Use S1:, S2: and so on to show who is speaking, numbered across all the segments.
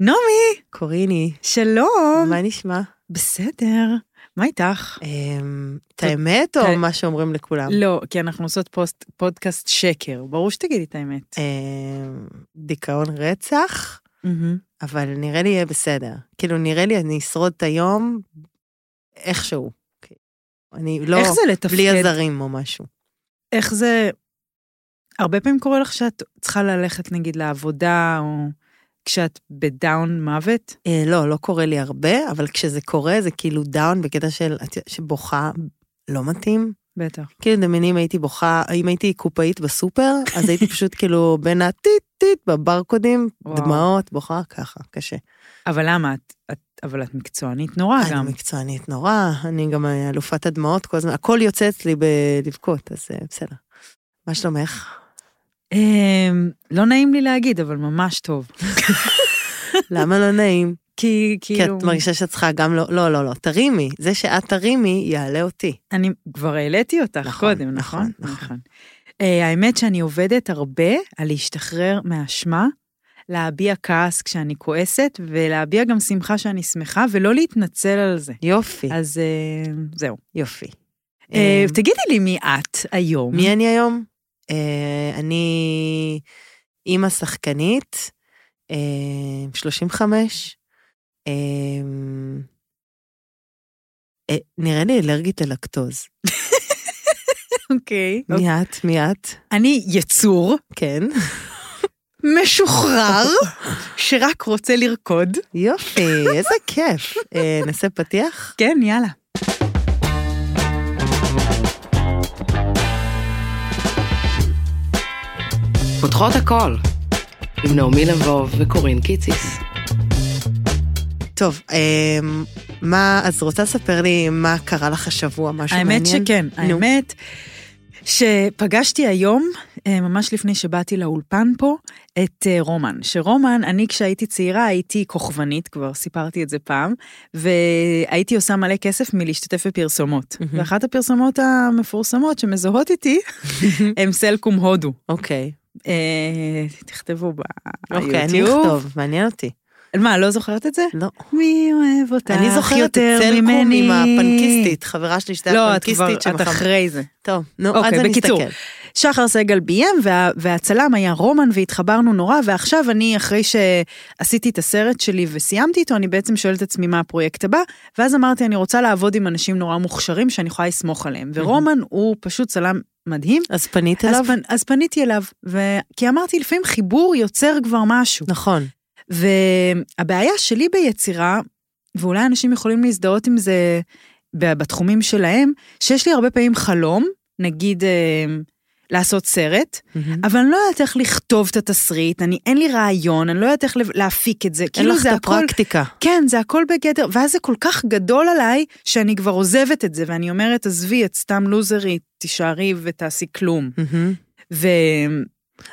S1: נעמי,
S2: קוריני,
S1: שלום.
S2: מה נשמע?
S1: בסדר, מה איתך?
S2: אמ, את
S1: טוב,
S2: האמת או
S1: ת-
S2: מה שאומרים לכולם?
S1: לא, כי אנחנו עושות פוסט, פודקאסט שקר, ברור שתגידי את האמת.
S2: אמ, דיכאון רצח,
S1: מהמם.
S2: אבל נראה לי יהיה בסדר. כאילו, נראה לי אני אשרוד את היום איכשהו. אני לא,
S1: איך זה לתפקד?
S2: בלי עזרים או משהו.
S1: איך זה... הרבה פעמים קורה לך שאת צריכה ללכת נגיד לעבודה, או כשאת בדאון מוות?
S2: אה, לא, לא קורה לי הרבה, אבל כשזה קורה זה כאילו דאון בקטע של, את יודעת, שבוכה לא מתאים.
S1: בטח.
S2: כאילו, דמייני אם הייתי בוכה, אם הייתי קופאית בסופר, אז הייתי פשוט כאילו בין הטיט-טיט בברקודים,
S1: וואו.
S2: דמעות, בוכה, ככה, קשה.
S1: אבל למה? את, את, אבל את מקצוענית נורא
S2: אני
S1: גם.
S2: מקצוענית נורא, אני גם אה, אלופת הדמעות כל הזמן, הכל יוצא אצלי בלבכות, אז אה, בסדר. מה שלומך?
S1: אמ, לא נעים לי להגיד, אבל ממש טוב.
S2: למה לא נעים?
S1: כי
S2: כי
S1: כאילו...
S2: את מרגישה שאת צריכה גם לא, לא, לא, לא, תרימי. זה שאת תרימי יעלה אותי.
S1: אני כבר העליתי אותך
S2: נכון,
S1: קודם, נכון?
S2: נכון, נכון.
S1: אה, האמת שאני עובדת הרבה על להשתחרר מאשמה, להביע כעס כשאני כועסת, ולהביע גם שמחה שאני שמחה, ולא להתנצל על זה.
S2: יופי,
S1: אז אה, זהו.
S2: יופי.
S1: אה,
S2: אה,
S1: תגידי לי מי את היום.
S2: מי אני היום? אה, אני אימא שחקנית, אה, 35. אה, אה, נראה לי אלרגית ללקטוז.
S1: אוקיי.
S2: מי את? מי את?
S1: אני יצור
S2: כן.
S1: משוחרר שרק רוצה לרקוד.
S2: יופי, איזה כיף. אה, נעשה פתיח?
S1: כן, יאללה.
S3: פותחות הכל, עם נעמי לבוב וקורין קיציס.
S2: טוב, אה, מה, אז רוצה לספר לי מה קרה לך השבוע, משהו מעניין?
S1: האמת שכן,
S2: נו.
S1: האמת שפגשתי היום, אה, ממש לפני שבאתי לאולפן פה, את אה, רומן. שרומן, אני כשהייתי צעירה הייתי כוכבנית, כבר סיפרתי את זה פעם, והייתי עושה מלא כסף מלהשתתף בפרסומות.
S2: מהמם.
S1: ואחת הפרסומות המפורסמות שמזוהות איתי, הם סלקום הודו.
S2: אוקיי.
S1: אה, תכתבו
S2: אוקיי, אני
S1: ביוטיוב.
S2: אכתוב, מעניין אותי.
S1: מה, לא זוכרת את זה?
S2: לא.
S1: מי אוהב אותך
S2: אני זוכרת את
S1: יותר
S2: סלקום
S1: ממני?
S2: עם הפנקיסטית, חברה שלי שהייתה
S1: לא, את כבר,
S2: הפנקיסטית
S1: את
S2: שמחר-
S1: אחרי זה.
S2: טוב, נו, אז
S1: אוקיי,
S2: אני
S1: בקיצור.
S2: אסתכל.
S1: שחר סגל ביים, וה, והצלם היה רומן, והתחברנו נורא, ועכשיו אני, אחרי שעשיתי את הסרט שלי וסיימתי איתו, אני בעצם שואלת את עצמי מה הפרויקט הבא, ואז אמרתי, אני רוצה לעבוד עם אנשים נורא מוכשרים שאני יכולה לסמוך עליהם, ורומן הוא פשוט צלם מדהים.
S2: אז פנית
S1: אז,
S2: אליו?
S1: פנ, אז פניתי אליו, ו... כי אמרתי, לפעמים חיבור יוצר כבר משהו.
S2: נכון.
S1: והבעיה שלי ביצירה, ואולי אנשים יכולים להזדהות עם זה ב- בתחומים שלהם, שיש לי הרבה פעמים חלום, נגיד אה, לעשות סרט, אבל אני לא יודעת איך לכתוב את התסריט, אני, אין לי רעיון, אני לא יודעת איך לב- להפיק את זה.
S2: אין
S1: כאילו
S2: לך
S1: זה
S2: את
S1: הכל,
S2: הפרקטיקה.
S1: כן, זה הכל בגדר, ואז זה כל כך גדול עליי, שאני כבר עוזבת את זה, ואני אומרת, עזבי, את סתם לוזרית, תישארי ותעשי כלום.
S2: מהמם.
S1: ואיך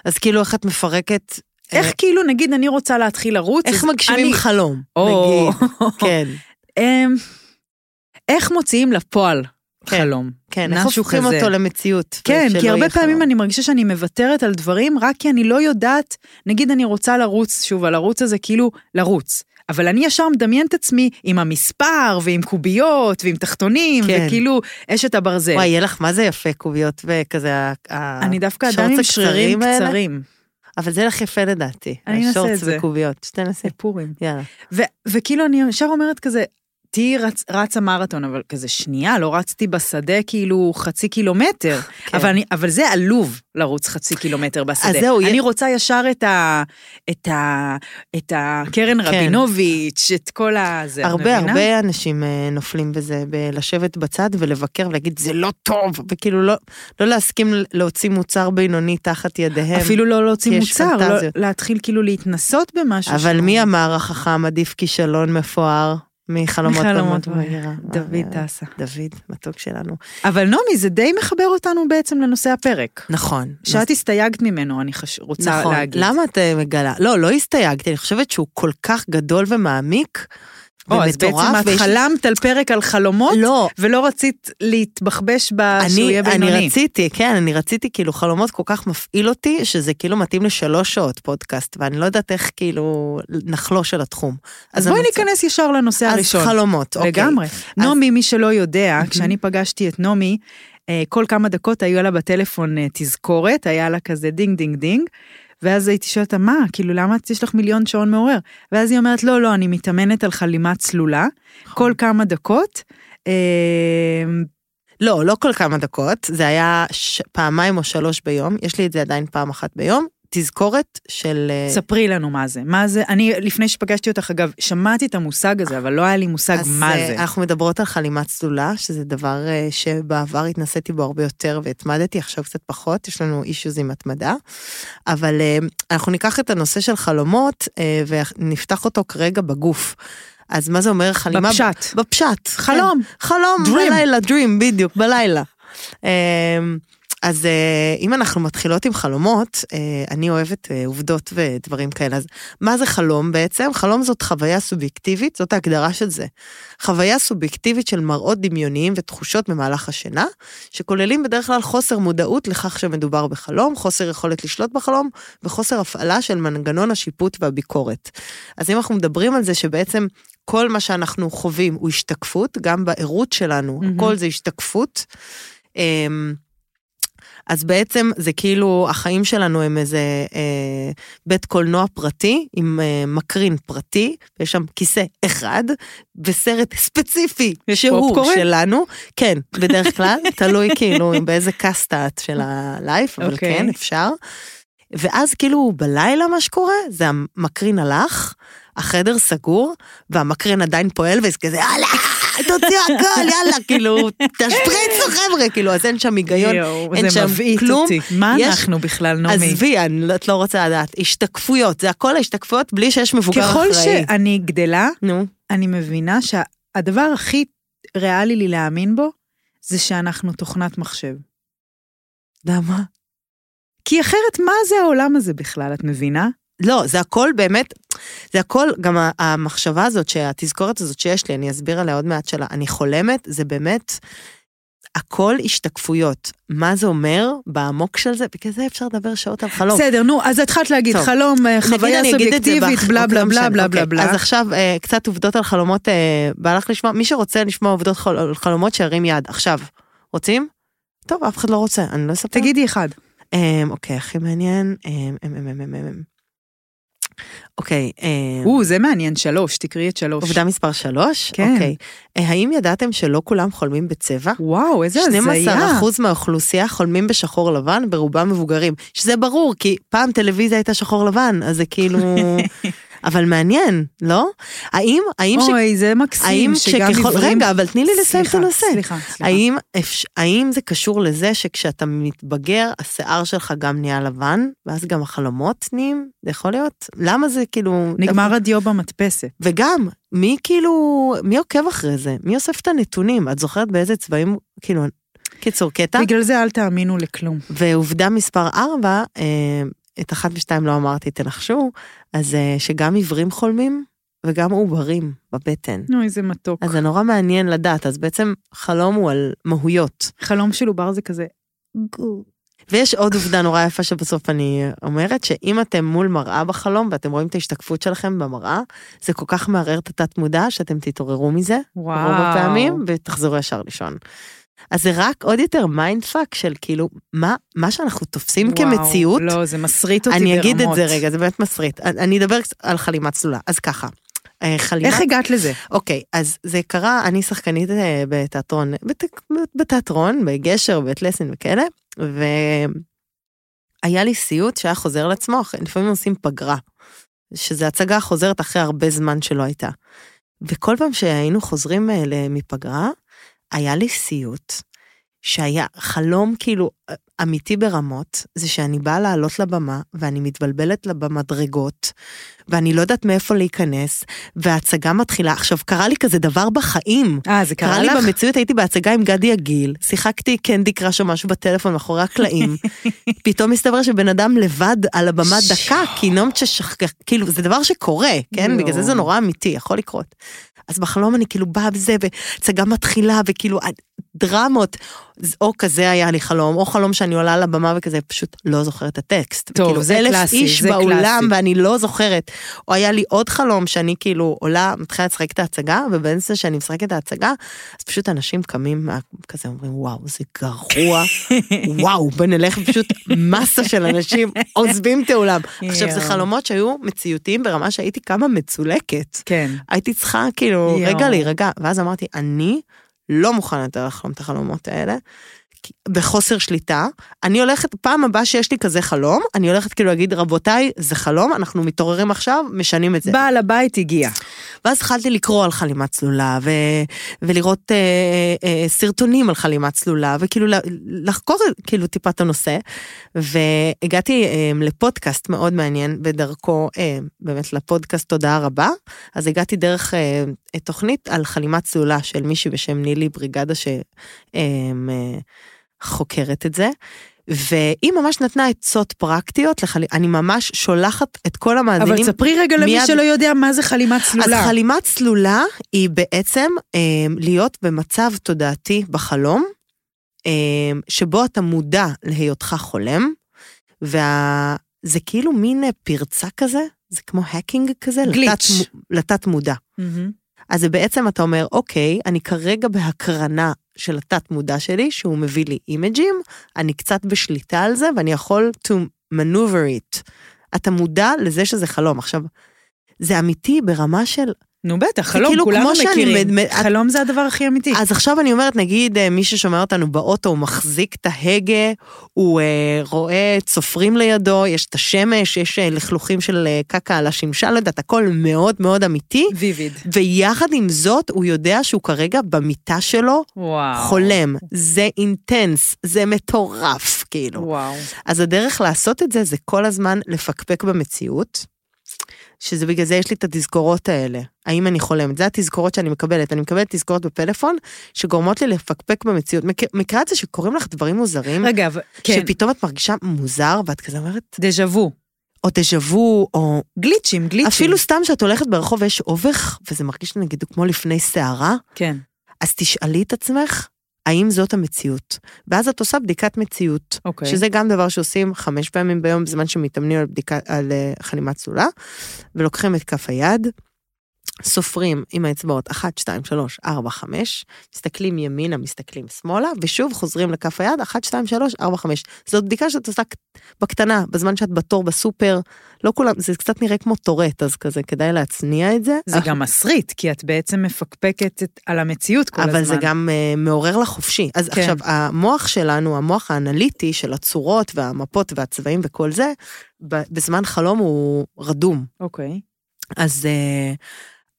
S2: אז כאילו איך את מפרקת, אה,
S1: כאילו, נגיד, אני רוצה להתחיל לרוץ,
S2: איך
S1: אז
S2: מגשימים
S1: אני-
S2: חלום,
S1: או,
S2: נגיד. כן,
S1: אמ, איך מוציאים לפועל
S2: כן.
S1: חלום?
S2: כן, איך
S1: משהו
S2: הופכים
S1: כזה.
S2: אותו למציאות.
S1: כן,
S2: ושלא
S1: כי הרבה
S2: יהיה חלום.
S1: פעמים אני מרגישה שאני מוותרת על דברים רק כי אני לא יודעת, נגיד אני רוצה לרוץ, שוב, על הרוץ הזה כאילו לרוץ. אבל אני ישר מדמיינת את עצמי עם המספר ועם קוביות ועם תחתונים,
S2: כן.
S1: וכאילו אשת הברזל.
S2: וואי, יהיה לך מה זה יפה קוביות וכזה ה- ה-
S1: אני דווקא
S2: השורטס
S1: אדם עם
S2: הקצרים
S1: שרירים
S2: האלה?
S1: קצרים.
S2: אבל זה לך יפה לדעתי.
S1: אני אנסה את
S2: השורטס
S1: זה.
S2: וקוביות, שתנסי.
S1: סיפורים.
S2: יאללה.
S1: ו- וכאילו אני ישר אומרת כזה, תהיי רצ- רצה מרתון, אבל כזה שנייה, לא רצתי בשדה כאילו חצי קילומטר.
S2: כן.
S1: אבל, אני, אבל זה עלוב לרוץ חצי קילומטר בשדה.
S2: אז זהו,
S1: אני
S2: י-
S1: רוצה ישר את ה... את ה... את ה... קרן
S2: כן.
S1: רבינוביץ', את כל ה... זה, את
S2: הרבה
S1: מבינה?
S2: הרבה אנשים אה, נופלים בזה, בלשבת בצד ולבקר ולהגיד זה לא טוב, וכאילו לא לא להסכים להוציא מוצר בינוני תחת ידיהם.
S1: אפילו לא
S2: כי
S1: להוציא
S2: יש
S1: מוצר, לא,
S2: פנטזיות.
S1: להתחיל כאילו להתנסות במשהו.
S2: אבל
S1: שהוא-
S2: מי אמר החכם עדיף כישלון מפואר מחלומות
S1: מחלומות אה,
S2: במגירה?
S1: דוד טסה.
S2: דוד, מתוק שלנו.
S1: אבל נעמי, זה די מחבר אותנו בעצם לנושא הפרק.
S2: נכון.
S1: שאת הסתייגת ממנו, אני חש... רוצה
S2: נכון.
S1: להגיד.
S2: למה את אה, מגלה? לא, לא הסתייגתי, אני חושבת שהוא כל כך גדול ומעמיק,
S1: או, אז
S2: ומטורף,
S1: בעצם את
S2: ויש-
S1: חלמת על פרק על חלומות,
S2: לא,
S1: ולא רצית להתבחבש ב... אה, שהוא
S2: אני,
S1: יהיה
S2: אני
S1: בינוני.
S2: רציתי, כן, אני רציתי כאילו חלומות כל כך מפעיל אותי, שזה כאילו מתאים לשלוש שעות פודקאסט, ואני לא יודעת איך כאילו נחלוש על התחום.
S1: אז בואי
S2: אני רוצה-
S1: ניכנס ישר לנושא הראשון.
S2: אז חלומות, אוקיי. Mhm.
S1: לגמרי. נעמי, מי שלא יודע, כשאני פגשתי את נעמי, אה, כל כמה דקות היו לה בטלפון אה, תזכורת, היה לה כזה דינג דינג דינג, ואז הייתי שואלת אותה, מה, כאילו, למה את- יש לך מיליון שעון מעורר? ואז היא אומרת, לא, לא, אני מתאמנת על חלימה צלולה,
S2: נכון.
S1: כל כמה דקות. אה,
S2: לא, לא כל כמה דקות, זה היה ש... פעמיים או שלוש ביום, יש לי את זה עדיין פעם אחת ביום, תזכורת של... אה,
S1: ספרי לנו מה זה. מה זה, אני, לפני שפגשתי אותך, אגב, שמעתי את המושג הזה, אבל לא היה לי מושג
S2: אז
S1: מה
S2: אה,
S1: זה.
S2: אנחנו מדברות על חלימה צלולה, שזה דבר אה, שבעבר התנסיתי בו הרבה יותר והתמדתי, עכשיו קצת פחות, יש לנו אישוז עם התמדה. אבל אה, אנחנו ניקח את הנושא של חלומות אה, ונפתח אותו כרגע בגוף. אז מה כן. זה אומר חלימה?
S1: בפשט.
S2: בפשט.
S1: חלום.
S2: כן. חלום,
S1: Dream.
S2: בלילה, dream, בדיוק, בלילה. אה, אז אה, אם אנחנו מתחילות עם חלומות, אה, אני אוהבת אה, עובדות ודברים כאלה. אז מה זה חלום בעצם? חלום זאת חוויה סובייקטיבית, זאת ההגדרה של זה. חוויה סובייקטיבית של מראות דמיוניים ותחושות במהלך השינה, שכוללים בדרך כלל חוסר מודעות לכך שמדובר בחלום, חוסר יכולת לשלוט בחלום וחוסר הפעלה של מנגנון השיפוט והביקורת. אז אם אנחנו מדברים על זה שבעצם כל מה שאנחנו חווים הוא השתקפות, גם בערות שלנו,
S1: מהמם.
S2: הכל זה השתקפות. אמ, אז בעצם זה כאילו, החיים שלנו הם איזה אה, בית קולנוע פרטי, עם אה, מקרין פרטי, ויש שם כיסא אחד, וסרט ספציפי
S1: יש
S2: שהוא
S1: פופקורן?
S2: שלנו. כן, בדרך כלל, תלוי כאילו באיזה קאסטה את של הלייף, אבל
S1: אוקיי.
S2: כן, אפשר. ואז כאילו בלילה מה שקורה, זה המקרין הלך, החדר סגור, והמקרן עדיין פועל, וזה כזה, יאללה, תוציאו הכל, יאללה, כאילו, תשפריצו חבר'ה, כאילו, אז אין שם היגיון,
S1: יואו,
S2: אין
S1: זה
S2: שם
S1: מבעית
S2: כלום.
S1: אותי. מה
S2: יש-
S1: אנחנו בכלל, נעמי?
S2: עזבי, אני לא- את לא רוצה לדעת. השתקפויות, זה הכל השתקפויות בלי שיש מבוגר אחראי.
S1: ככל שאני גדלה,
S2: נו,
S1: אני מבינה שהדבר הכי ריאלי לי להאמין בו, זה שאנחנו תוכנת מחשב.
S2: למה?
S1: כי אחרת, מה זה העולם הזה בכלל, את מבינה?
S2: לא, זה הכל באמת, זה הכל, גם ה- המחשבה הזאת, שהתזכורת הזאת שיש לי, אני אסביר עליה עוד מעט שלה, אני חולמת, זה באמת, הכל השתקפויות. מה זה אומר בעמוק של זה? בגלל זה אפשר לדבר שעות על חלום.
S1: בסדר, נו, אז התחלת להגיד
S2: לא. טוב.
S1: חלום, אה,
S2: נגיד
S1: חוויה
S2: אני אגיד את זה
S1: סובייקטיבית,
S2: בח-
S1: בלה
S2: אוקיי,
S1: בלה
S2: לא
S1: בלה
S2: משנה,
S1: בלה בלה
S2: אוקיי.
S1: בלה.
S2: אז עכשיו אה, קצת עובדות על חלומות, אה, בא לך לשמוע? מי שרוצה לשמוע עובדות חל- על חלומות, שירים יד. עכשיו, רוצים? טוב, אף אחד לא רוצה, אני לא אספר.
S1: תגידי אחד.
S2: אמ, אוקיי, הכי מעניין. אמ, אמ, אמ, אמ, אמ, אמ. אוקיי, אמ,
S1: או, זה מעניין, שלוש, תקראי את שלוש.
S2: עובדה מספר שלוש?
S1: כן.
S2: אוקיי. אה, האם ידעתם שלא כולם חולמים בצבע?
S1: וואו, איזה הזיה.
S2: 12% מהאוכלוסייה חולמים בשחור לבן, ברובם מבוגרים. שזה ברור, כי פעם טלוויזיה הייתה שחור לבן, אז זה כאילו... אבל מעניין, לא? האם, האם, ש...
S1: אוי, זה
S2: האם
S1: מקסים, שגם
S2: שככל...
S1: עברים...
S2: רגע, אבל תני לי לסיים את
S1: סליחה,
S2: הנושא.
S1: סליחה, סליחה.
S2: האם, אפש... האם זה קשור לזה שכשאתה מתבגר, השיער שלך גם נהיה לבן, ואז גם החלומות נהיים? זה יכול להיות? למה זה כאילו...
S1: נגמר הדיו במדפסת.
S2: וגם, מי כאילו, מי עוקב אחרי זה? מי אוסף את הנתונים? את זוכרת באיזה צבעים, כאילו, קיצור, קטע?
S1: בגלל זה אל תאמינו לכלום.
S2: ועובדה מספר 4, את אחת ושתיים לא אמרתי, תנחשו, אז אה, שגם עיוורים חולמים וגם עוברים בבטן.
S1: אוי, זה מתוק.
S2: אז זה נורא מעניין לדעת, אז בעצם חלום הוא על מהויות.
S1: חלום של עובר זה כזה...
S2: ויש עוד עובדה נורא יפה שבסוף אני אומרת, שאם אתם מול מראה בחלום ואתם רואים את ההשתקפות שלכם במראה, זה כל כך מערער את התת-מודע שאתם תתעוררו מזה.
S1: וואו.
S2: רוב הפעמים, ותחזרו ישר לישון. אז זה רק עוד יותר מיינדפאק של כאילו, מה, מה שאנחנו תופסים
S1: וואו,
S2: כמציאות,
S1: לא, זה מסריט אותי ברמות.
S2: אני אגיד את זה רגע, זה באמת מסריט. אני אני אדבר קצת על חלימה צלולה, אז ככה. אה, חלימה,
S1: איך הגעת לזה?
S2: אוקיי, אז זה קרה, אני שחקנית אה, בתיאטרון, בת, בתיאטרון, בגשר, בבית לסין וכאלה, והיה לי סיוט שהיה חוזר על עצמו, אחרי- לפעמים עושים פגרה, שזו הצגה חוזרת אחרי הרבה זמן שלא הייתה. וכל פעם שהיינו חוזרים אה, ל- מפגרה, היה לי סיוט, שהיה חלום כאילו, אמיתי ברמות, זה שאני באה לעלות לבמה, ואני מתבלבלת לה במדרגות, ואני לא יודעת מאיפה להיכנס, וההצגה מתחילה. עכשיו, קרה לי כזה דבר בחיים.
S1: אה, זה
S2: קרה
S1: קרה
S2: לי
S1: לך?
S2: במציאות, הייתי בהצגה עם גדי עגיל, שיחקתי קנדי קראש או משהו בטלפון מאחורי הקלעים. פתאום מסתבר שבן אדם לבד על הבמה
S1: שיו.
S2: דקה, כי נומת ששכח, כאילו, זה דבר שקורה, כן?
S1: יואו.
S2: בגלל זה זה נורא אמיתי, יכול לקרות. אז בחלום אני כאילו באה בזה, והצגה מתחילה, וכאילו, אה, דרמות. אז או כזה היה לי חלום, או חלום שאני עולה על הבמה וכזה, פשוט לא זוכרת את הטקסט.
S1: טוב,
S2: כאילו,
S1: זה
S2: אלף
S1: קלאסי,
S2: איש
S1: זה
S2: באולם,
S1: קלאסי.
S2: ואני לא זוכרת. או היה לי עוד חלום שאני כאילו עולה, מתחילה לשחק את ההצגה, ובאמצע שאני משחקת את ההצגה, אז פשוט אנשים קמים מה- כזה אומרים, וואו, זה גרוע, וואו, בוא נלך פשוט מסה של אנשים עוזבים את האולם. עכשיו, זה
S1: יואו.
S2: חלומות שהיו מציאותיים ברמה שהייתי קמה מצולקת.
S1: כן.
S2: הייתי צריכה כאילו
S1: יואו.
S2: רגע להירגע, ואז אמרתי, אני לא מוכנה יותר לחלום את החלומות האלה. כי- בחוסר שליטה, אני הולכת, פעם הבאה שיש לי כזה חלום, אני הולכת כאילו להגיד, רבותיי, זה חלום, אנחנו מתעוררים עכשיו, משנים את זה.
S1: כן. בעל הבית הגיע.
S2: ואז התחלתי לקרוא על חלימה צלולה, ו... ולראות אה, אה, אה, סרטונים על חלימה צלולה, וכאילו ל- לחקור כאילו טיפה את הנושא. והגעתי אה, לפודקאסט מאוד מעניין בדרכו, אה, באמת לפודקאסט תודה רבה. אז הגעתי דרך אה, תוכנית על חלימה צלולה של מישהי בשם נילי בריגדה, ש... אה, אה, חוקרת את זה. והיא ממש נתנה עצות פרקטיות, לחלי... אני ממש שולחת את כל המאזינים.
S1: אבל ספרי רגע למי
S2: מיד-
S1: שלא יודע מה זה חלימה צלולה.
S2: אז חלימה צלולה היא בעצם אה, להיות במצב תודעתי בחלום, אה, שבו אתה מודע להיותך חולם, וזה כאילו מין אה, פרצה כזה, זה כמו האקינג כזה,
S1: גליץ'.
S2: לתת, מ- לתת מודע.
S1: מהמם.
S2: אז זה בעצם אתה אומר, אוקיי, אני כרגע בהקרנה של התת מודע שלי, שהוא מביא לי אימג'ים, אני קצת בשליטה על זה, ואני יכול to maneuver it. אתה מודע לזה שזה חלום. עכשיו, זה אמיתי ברמה של
S1: נו בטח,
S2: זה
S1: חלום,
S2: כאילו
S1: כולנו
S2: כמו שאני
S1: מכירים.
S2: מד- מד-
S1: חלום זה הדבר הכי אמיתי.
S2: אז עכשיו אני אומרת, נגיד אה, מי ששומע אותנו באוטו, הוא מחזיק את ההגה, הוא אה, רואה צופרים לידו, יש את השמש, יש אה, לכלוכים של אה, קקה על השמשה, לא יודעת, הכל מאוד מאוד אמיתי,
S1: ויביד.
S2: ויחד עם זאת, הוא יודע שהוא כרגע במיטה שלו
S1: וואו.
S2: חולם. זה אינטנס, זה מטורף, כאילו.
S1: וואו.
S2: אז הדרך לעשות את זה, זה כל הזמן לפקפק במציאות, שזה בגלל זה יש לי את התזכורות האלה. האם אני חולמת? זה התזכורות שאני מקבלת. אני מקבלת תזכורות בפלאפון, שגורמות לי לפקפק במציאות. מכיר- מכירה את זה שקורים לך דברים מוזרים?
S1: רגע, אבל- כן,
S2: שפתאום את מרגישה מוזר, ואת כזה אומרת,
S1: דז'ה וו.
S2: או דז'ה וו, או...
S1: גליצ'ים, גליצ'ים.
S2: אפילו סתם שאת הולכת ברחוב ויש אובך, וזה מרגיש נגיד כמו לפני סערה,
S1: כן.
S2: אז תשאלי את עצמך, האם זאת המציאות? ואז את עושה בדיקת מציאות.
S1: אוקיי.
S2: שזה גם דבר שעושים חמש פעמים ביום בזמן שמתאמנים על בדיקה, על אה, חלימה צלולה, ולוקחים את כף היד, סופרים עם האצבעות 1, 2, 3, 4, 5, מסתכלים ימינה, מסתכלים שמאלה, ושוב חוזרים לכף היד 1, 2, 3, 4, 5. זאת בדיקה שאת עושה קט- בקטנה, בזמן שאת בתור בסופר, לא כולם, זה קצת נראה כמו טורט, אז כזה כדאי להצניע את זה.
S1: זה גם מסריט, כי את בעצם מפקפקת את- על המציאות כל הזמן.
S2: אבל זה גם uh, מעורר לך חופשי. אז
S1: כן.
S2: כן. עכשיו, המוח שלנו, המוח האנליטי של הצורות והמפות והצבעים וכל זה, ב- בזמן חלום הוא רדום.
S1: אוקיי.
S2: אז, uh,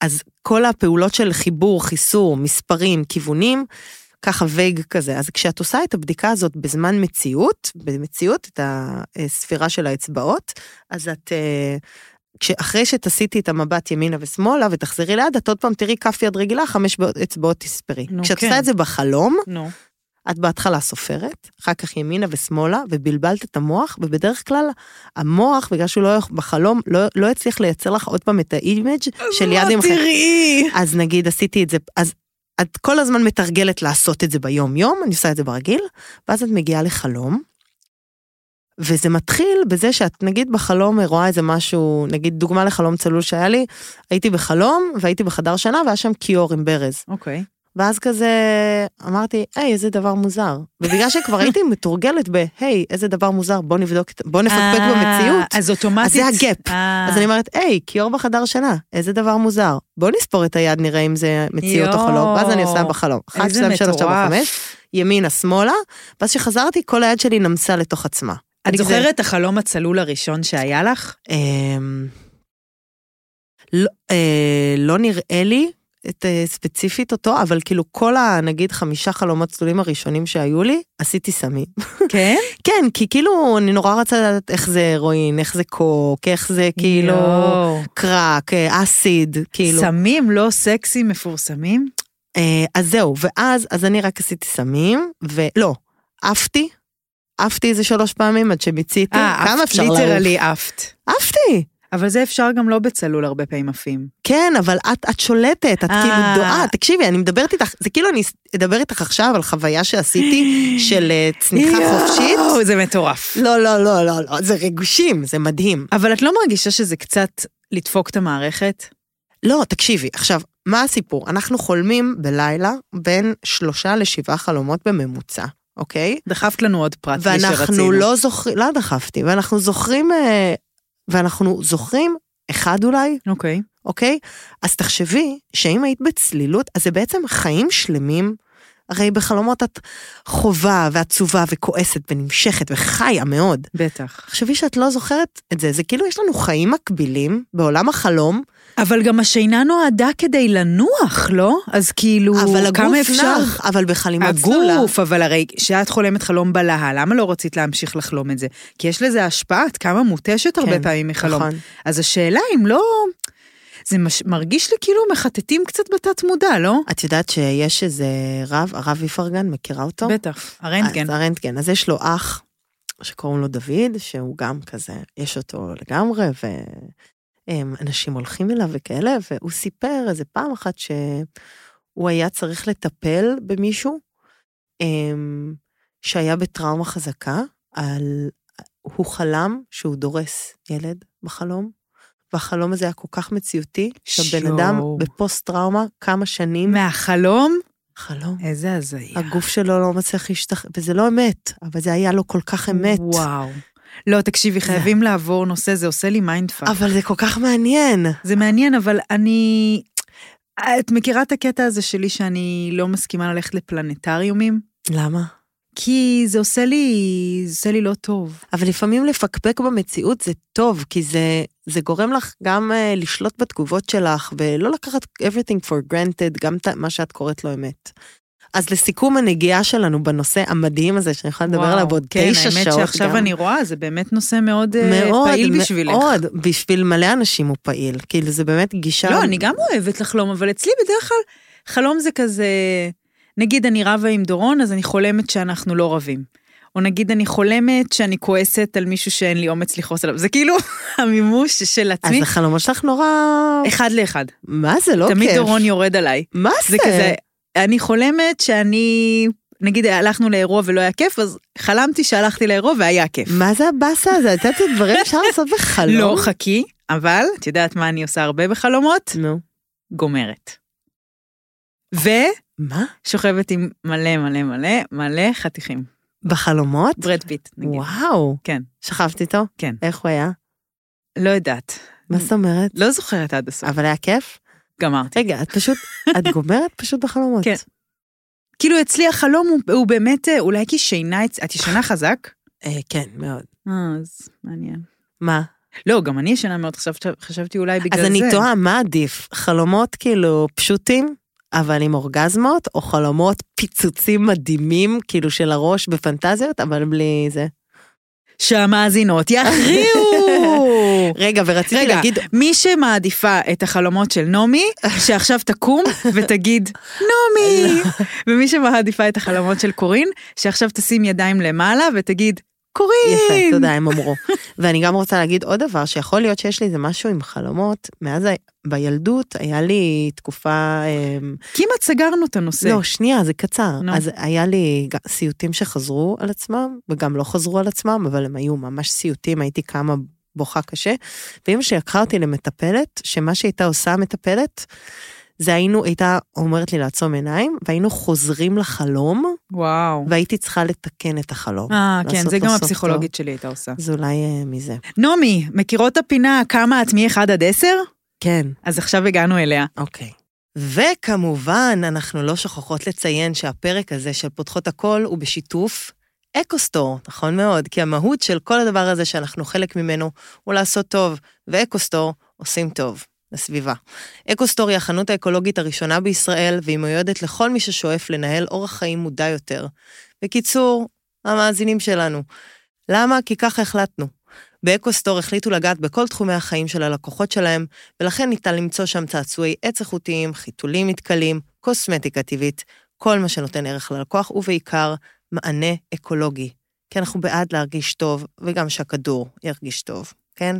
S2: אז כל הפעולות של חיבור, חיסור, מספרים, כיוונים, ככה וייג כזה. אז כשאת עושה את הבדיקה הזאת בזמן מציאות, במציאות, את הספירה של האצבעות, אז את... אה, כשאחרי שתסיטי את המבט ימינה ושמאלה ותחזרי ליד, את עוד פעם תראי כף יד רגילה, חמש בא- אצבעות תספרי.
S1: נו,
S2: כשאת
S1: כן.
S2: עושה את זה בחלום,
S1: נו.
S2: את בהתחלה סופרת, אחר כך ימינה ושמאלה, ובלבלת את המוח, ובדרך כלל המוח, בגלל שהוא לא, בחלום, לא, לא הצליח לייצר לך עוד פעם את האימג' של יד עם חצי.
S1: אה, תראי.
S2: אז נגיד עשיתי את זה, אז את כל הזמן מתרגלת לעשות את זה ביום-יום, אני עושה את זה ברגיל, ואז את מגיעה לחלום. וזה מתחיל בזה שאת נגיד בחלום רואה איזה משהו, נגיד דוגמה לחלום צלול שהיה לי, הייתי בחלום והייתי בחדר שינה והיה שם כיור עם ברז.
S1: אוקיי.
S2: ואז כזה אמרתי, היי, איזה דבר מוזר. ובגלל שכבר הייתי מתורגלת ב, היי, איזה דבר מוזר, בוא נבדוק, את- בוא נפקפק
S1: אה,
S2: במציאות.
S1: אז אוטומטית.
S2: אז זה הגאפ.
S1: אה,
S2: אז אני אומרת, היי, כיור בחדר שינה, איזה דבר מוזר. בוא נספור את היד, נראה אם זה מציאות או חלום.
S1: יואו.
S2: ואז אני עושה בחלום. אחת,
S1: איזה
S2: שתיים, שלוש, ארבע,
S1: מטורף.
S2: חמש, ימינה, שמאלה. ואז כשחזרתי, כל היד שלי נמסה לתוך עצמה.
S1: את
S2: אני כזה,
S1: זוכרת החלום הצלול הראשון שהיה לך?
S2: אמ, לא- אה, לא נראה לי, את אה, ספציפית אותו, אבל כאילו כל ה... נגיד חמישה חלומות צלולים הראשונים שהיו לי, עשיתי סמים.
S1: כן?
S2: כן, כי כאילו אני נורא רצה לדעת איך זה הרואין, איך זה קוק, איך זה כאילו
S1: יואו.
S2: קרק, אה, אסיד, כאילו.
S1: סמים לא סקסים מפורסמים?
S2: אה, אז זהו, ואז, אז אני רק עשיתי סמים, ולא, עפתי, עפתי איזה שלוש פעמים עד שמיציתי, כן, כמה
S1: אה, עפת,
S2: אפשר לעוף?
S1: ליטרלי עפת.
S2: עפתי.
S1: אבל זה אפשר גם לא בצלול הרבה פעמים עפים.
S2: כן, אבל את, את שולטת, את
S1: אה.
S2: כאילו דועה, תקשיבי, אני מדברת איתך, זה כאילו אני אדבר איתך עכשיו על חוויה שעשיתי של אה, צניחה
S1: יואו,
S2: חופשית.
S1: זה מטורף.
S2: לא, לא, לא, לא, לא, זה ריגושים, זה מדהים.
S1: אבל את לא מרגישה שזה קצת לדפוק את המערכת?
S2: לא, תקשיבי, עכשיו, מה הסיפור? אנחנו חולמים בלילה בין שלושה לשבעה חלומות בממוצע, אוקיי?
S1: דחפת לנו עוד פרט בלי שרצינו.
S2: ואנחנו לא זוכרים, לא דחפתי, ואנחנו זוכרים, אה, ואנחנו זוכרים אחד אולי,
S1: אוקיי.
S2: אוקיי? אז תחשבי שאם היית בצלילות, אז זה בעצם חיים שלמים. הרי בחלומות את חווה ועצובה וכועסת ונמשכת וחיה מאוד.
S1: בטח.
S2: תחשבי שאת לא זוכרת את זה, זה כאילו יש לנו חיים מקבילים בעולם החלום,
S1: אבל גם השינה נועדה כדי לנוח, לא? אז כאילו,
S2: אבל הגוף
S1: כמה אפשר?
S2: נח, אבל בחלימה צלולה.
S1: הגוף, אבל הרי כשאת חולמת חלום בלהה, למה לא רצית להמשיך לחלום את זה? כי יש לזה השפעה, את כמה מותשת הרבה
S2: כן,
S1: פעמים מחלום.
S2: נכון.
S1: אז השאלה אם לא... זה מש... מרגיש לי כאילו מחטטים קצת בתת מודע, לא?
S2: את יודעת שיש איזה רב, הרב איפרגן, מכירה אותו?
S1: בטח, הרנטגן.
S2: אז אה, הרנטגן. אז יש לו אח שקוראים לו דוד, שהוא גם כזה, יש אותו לגמרי, ואנשים הולכים אליו וכאלה, והוא סיפר איזה פעם אחת שהוא היה צריך לטפל במישהו אמ, שהיה בטראומה חזקה, על... הוא חלם שהוא דורס ילד בחלום. והחלום הזה היה כל כך מציאותי, שהבן
S1: שואו.
S2: אדם בפוסט-טראומה כמה שנים,
S1: מהחלום?
S2: חלום.
S1: איזה הזיה.
S2: הגוף שלו לא מצליח להשתחרר, וזה לא אמת, אבל זה היה לו כל כך אמת.
S1: וואו. לא, תקשיבי, חייבים לעבור נושא, זה עושה לי מיינדפאק.
S2: אבל זה כל כך מעניין.
S1: זה מעניין, אבל אני... את מכירה את הקטע הזה שלי שאני לא מסכימה ללכת לפלנטריומים?
S2: למה?
S1: כי זה עושה לי... זה עושה לי לא טוב.
S2: אבל לפעמים לפקפק במציאות זה טוב, כי זה, זה גורם לך גם uh, לשלוט בתגובות שלך, ולא לקחת everything for granted, גם ת, מה שאת קוראת לו אמת. אז לסיכום הנגיעה שלנו בנושא המדהים הזה, שאני יכולה לדבר
S1: וואו,
S2: עליו עוד תשע שעות.
S1: כן, האמת שעכשיו
S2: גם.
S1: אני רואה, זה באמת נושא מאוד, אה,
S2: מאוד,
S1: פעיל בשבילך.
S2: מאוד, בשביל מלא אנשים הוא פעיל. כאילו, זה באמת גישה...
S1: לא, אני גם אוהבת לחלום, אבל אצלי בדרך כלל חלום זה כזה, נגיד אני רבה עם דורון, אז אני חולמת שאנחנו לא רבים. או נגיד אני חולמת שאני כועסת על מישהו שאין לי אומץ לכעוס עליו. זה כאילו המימוש של
S2: אז
S1: עצמי,
S2: החלומות שלך נורא...
S1: אחד לאחד.
S2: מה זה, לא כיף.
S1: תמיד דורון יורד עליי.
S2: מה זה?
S1: זה כזה, אני חולמת שאני, נגיד הלכנו לאירוע ולא היה כיף, אז חלמתי שהלכתי לאירוע והיה כיף.
S2: מה זה הבאסה הזה? את יודעת את הדברים אפשר לעשות בחלום?
S1: לא, חכי, אבל את יודעת מה אני עושה הרבה בחלומות?
S2: נו.
S1: גומרת. ושוכבת
S2: מה?
S1: עם מלא מלא מלא מלא חתיכים.
S2: בחלומות?
S1: ברד פיט, נגיד.
S2: וואו.
S1: כן.
S2: שכבת איתו?
S1: כן.
S2: איך הוא היה?
S1: לא יודעת.
S2: מה זאת אומרת?
S1: לא זוכרת עד הסוף.
S2: אבל היה כיף?
S1: גמרתי.
S2: רגע, את פשוט, את גומרת פשוט בחלומות.
S1: כן. כאילו אצלי החלום הוא- הוא באמת, אה, אולי כי שינה, אצ- את ישנה חזק?
S2: אה, כן, מאוד.
S1: אה, אז מעניין.
S2: מה?
S1: לא, גם אני ישנה מאוד, חשבת- חשבתי אולי בגלל
S2: אז
S1: זה.
S2: אני תוהה, מה עדיף? חלומות כאילו פשוטים, אבל עם אורגזמות, או חלומות פיצוצים מדהימים, כאילו של הראש בפנטזיות, אבל בלי זה?
S1: שהמאזינות יכריעו!
S2: רגע, ורציתי
S1: רגע,
S2: להגיד
S1: מי שמעדיפה את החלומות של נעמי, שעכשיו תקום ותגיד, נעמי!
S2: לא.
S1: ומי שמעדיפה את החלומות של קורין, שעכשיו תשים ידיים למעלה ותגיד, קורין!
S2: יפה, תודה, הם אמרו. ואני גם רוצה להגיד עוד דבר, שיכול להיות שיש לי איזה משהו עם חלומות. מאז ה- בילדות היה לי תקופה... אמ,
S1: כמעט סגרנו את הנושא.
S2: לא, שנייה, זה קצר.
S1: נו.
S2: אז היה לי ג- סיוטים שחזרו על עצמם, וגם לא חזרו על עצמם, אבל הם היו ממש סיוטים, הייתי קמה בוכה קשה. ואימא שלי לקחה אותי למטפלת, שמה שהייתה עושה המטפלת, זה היינו, הייתה אומרת לי לעצום עיניים, והיינו חוזרים לחלום,
S1: וואו.
S2: והייתי צריכה לתקן את החלום.
S1: אה, כן,
S2: לעשות
S1: זה
S2: לו
S1: גם
S2: סוף
S1: הפסיכולוגית שלי הייתה עושה.
S2: אז אולי אה, מזה.
S1: נעמי, מכירות את הפינה כמה את מ-1 עד 10?
S2: כן.
S1: אז עכשיו הגענו אליה.
S2: אוקיי. וכמובן, אנחנו לא שוכחות לציין שהפרק הזה של פותחות הכל הוא בשיתוף אקוסטור, נכון מאוד, כי המהות של כל הדבר הזה שאנחנו חלק ממנו הוא לעשות טוב, ואקוסטור עושים טוב. לסביבה. אקוסטור היא החנות האקולוגית הראשונה בישראל, והיא מיועדת לכל מי ששואף לנהל אורח חיים מודע יותר. בקיצור, המאזינים שלנו. למה? כי ככה החלטנו. באקוסטור החליטו לגעת בכל תחומי החיים של הלקוחות שלהם, ולכן ניתן למצוא שם צעצועי עץ איכותיים, חיתולים מתכלים, קוסמטיקה טבעית, כל מה שנותן ערך ללקוח, ובעיקר, מענה אקולוגי. כי אנחנו בעד להרגיש טוב, וגם שהכדור ירגיש טוב, כן?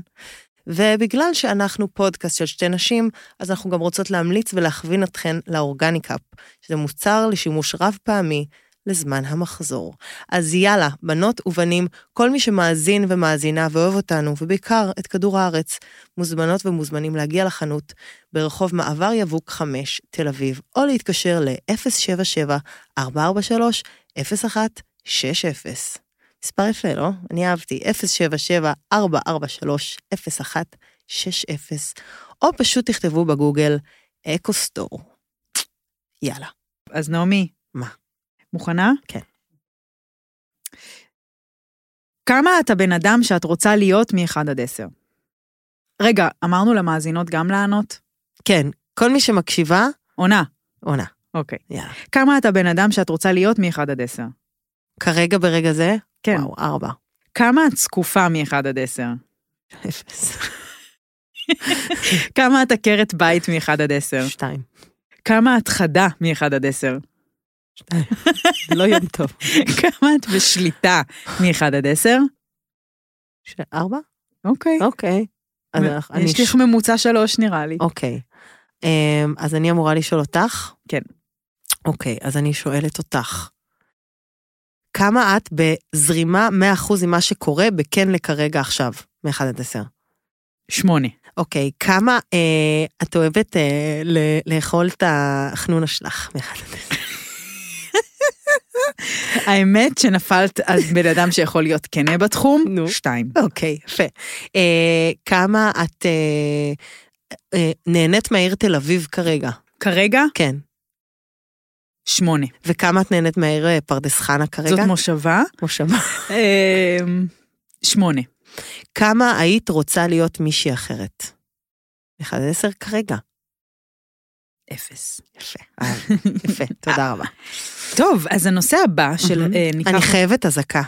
S2: ובגלל שאנחנו פודקאסט של שתי נשים, אז אנחנו גם רוצות להמליץ ולהכווין אתכן לאורגניקאפ, שזה מוצר לשימוש רב פעמי לזמן המחזור. אז יאללה, בנות ובנים, כל מי שמאזין ומאזינה ואוהב אותנו, ובעיקר את כדור הארץ, מוזמנות ומוזמנים להגיע לחנות ברחוב מעבר יבוק 5, תל אביב, או להתקשר ל-077-443-0160. מספר יפה, לא? אני אהבתי, 077-443-0160, או פשוט תכתבו בגוגל אקוסטור. יאללה.
S1: אז נעמי.
S2: מה?
S1: מוכנה?
S2: כן.
S1: כמה אתה בן אדם שאת רוצה להיות מ-1 עד 10? רגע, אמרנו למאזינות גם לענות?
S2: כן, כל מי שמקשיבה,
S1: עונה.
S2: עונה.
S1: אוקיי.
S2: יאללה.
S1: כמה אתה בן אדם שאת רוצה להיות מ-1 עד 10?
S2: כרגע, ברגע זה,
S1: כן.
S2: וואו, ארבע.
S1: כמה את זקופה מ-1 עד 10?
S2: אפס.
S1: כמה את עקרת בית מ-1 עד 10?
S2: שתיים.
S1: כמה את חדה מ-1 עד 10?
S2: שתיים. זה לא יום טוב.
S1: כמה את בשליטה מ-1 עד 10?
S2: ש- ארבע?
S1: אוקיי.
S2: אוקיי. אז
S1: מ-
S2: אני...
S1: יש לך ממוצע שלוש נראה לי.
S2: אוקיי. אמ, אז אני אמורה לשאול אותך?
S1: כן.
S2: אוקיי, אז אני שואלת אותך. כמה את בזרימה 100% ממה שקורה בכן לכרגע עכשיו, מ-1 עד 10?
S1: שמונה.
S2: אוקיי, כמה אה, את אוהבת אה, ל- לאכול את החנונה שלך מ-1 עד 10?
S1: האמת שנפלת על בן אדם שיכול להיות כנה בתחום,
S2: נו.
S1: שתיים.
S2: אוקיי, יפה. אה, כמה את אה, אה, נהנית מהעיר תל אביב כרגע?
S1: כרגע,
S2: כן.
S1: שמונה.
S2: וכמה את נהנית מהעיר אה, פרדס חנה כרגע?
S1: זאת מושבה.
S2: מושבה.
S1: אמ, שמונה.
S2: כמה היית רוצה להיות מישהי אחרת? 1 עד 10 כרגע.
S1: אפס.
S2: יפה. אה, יפה, תודה רבה.
S1: טוב, אז הנושא הבא של...
S2: מהמם.
S1: אה, ניקח-
S2: אני חייבת אזעקה.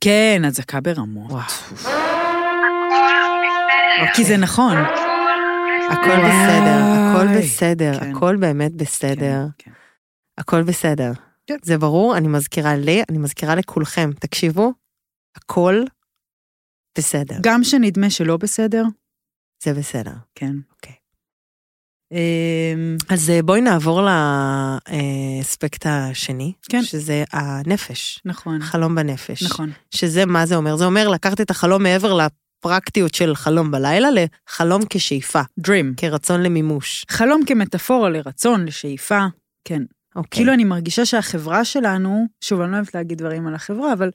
S1: כן, אזעקה ברמות.
S2: וואו.
S1: כי זה נכון.
S2: הכל בסדר,
S1: וואי.
S2: הכל בסדר,
S1: כן.
S2: הכל באמת בסדר,
S1: כן, כן.
S2: הכל בסדר.
S1: כן.
S2: זה ברור, אני מזכירה לי, אני מזכירה לכולכם, תקשיבו, הכל בסדר,
S1: גם שנדמה שלא בסדר,
S2: זה בסדר.
S1: כן.
S2: אוקיי.
S1: אמ,
S2: אז אה, בואי נעבור לאספקט השני,
S1: כן.
S2: שזה הנפש,
S1: נכון.
S2: חלום בנפש.
S1: נכון.
S2: שזה מה זה אומר? זה אומר לקחת את החלום מעבר לפרקטיות של חלום בלילה לחלום כשאיפה,
S1: Dream.
S2: כרצון למימוש.
S1: חלום כמטאפורה לרצון, לשאיפה. כן.
S2: אוקיי.
S1: כאילו אני מרגישה שהחברה שלנו, שוב, אני לא אוהבת להגיד דברים על החברה, אבל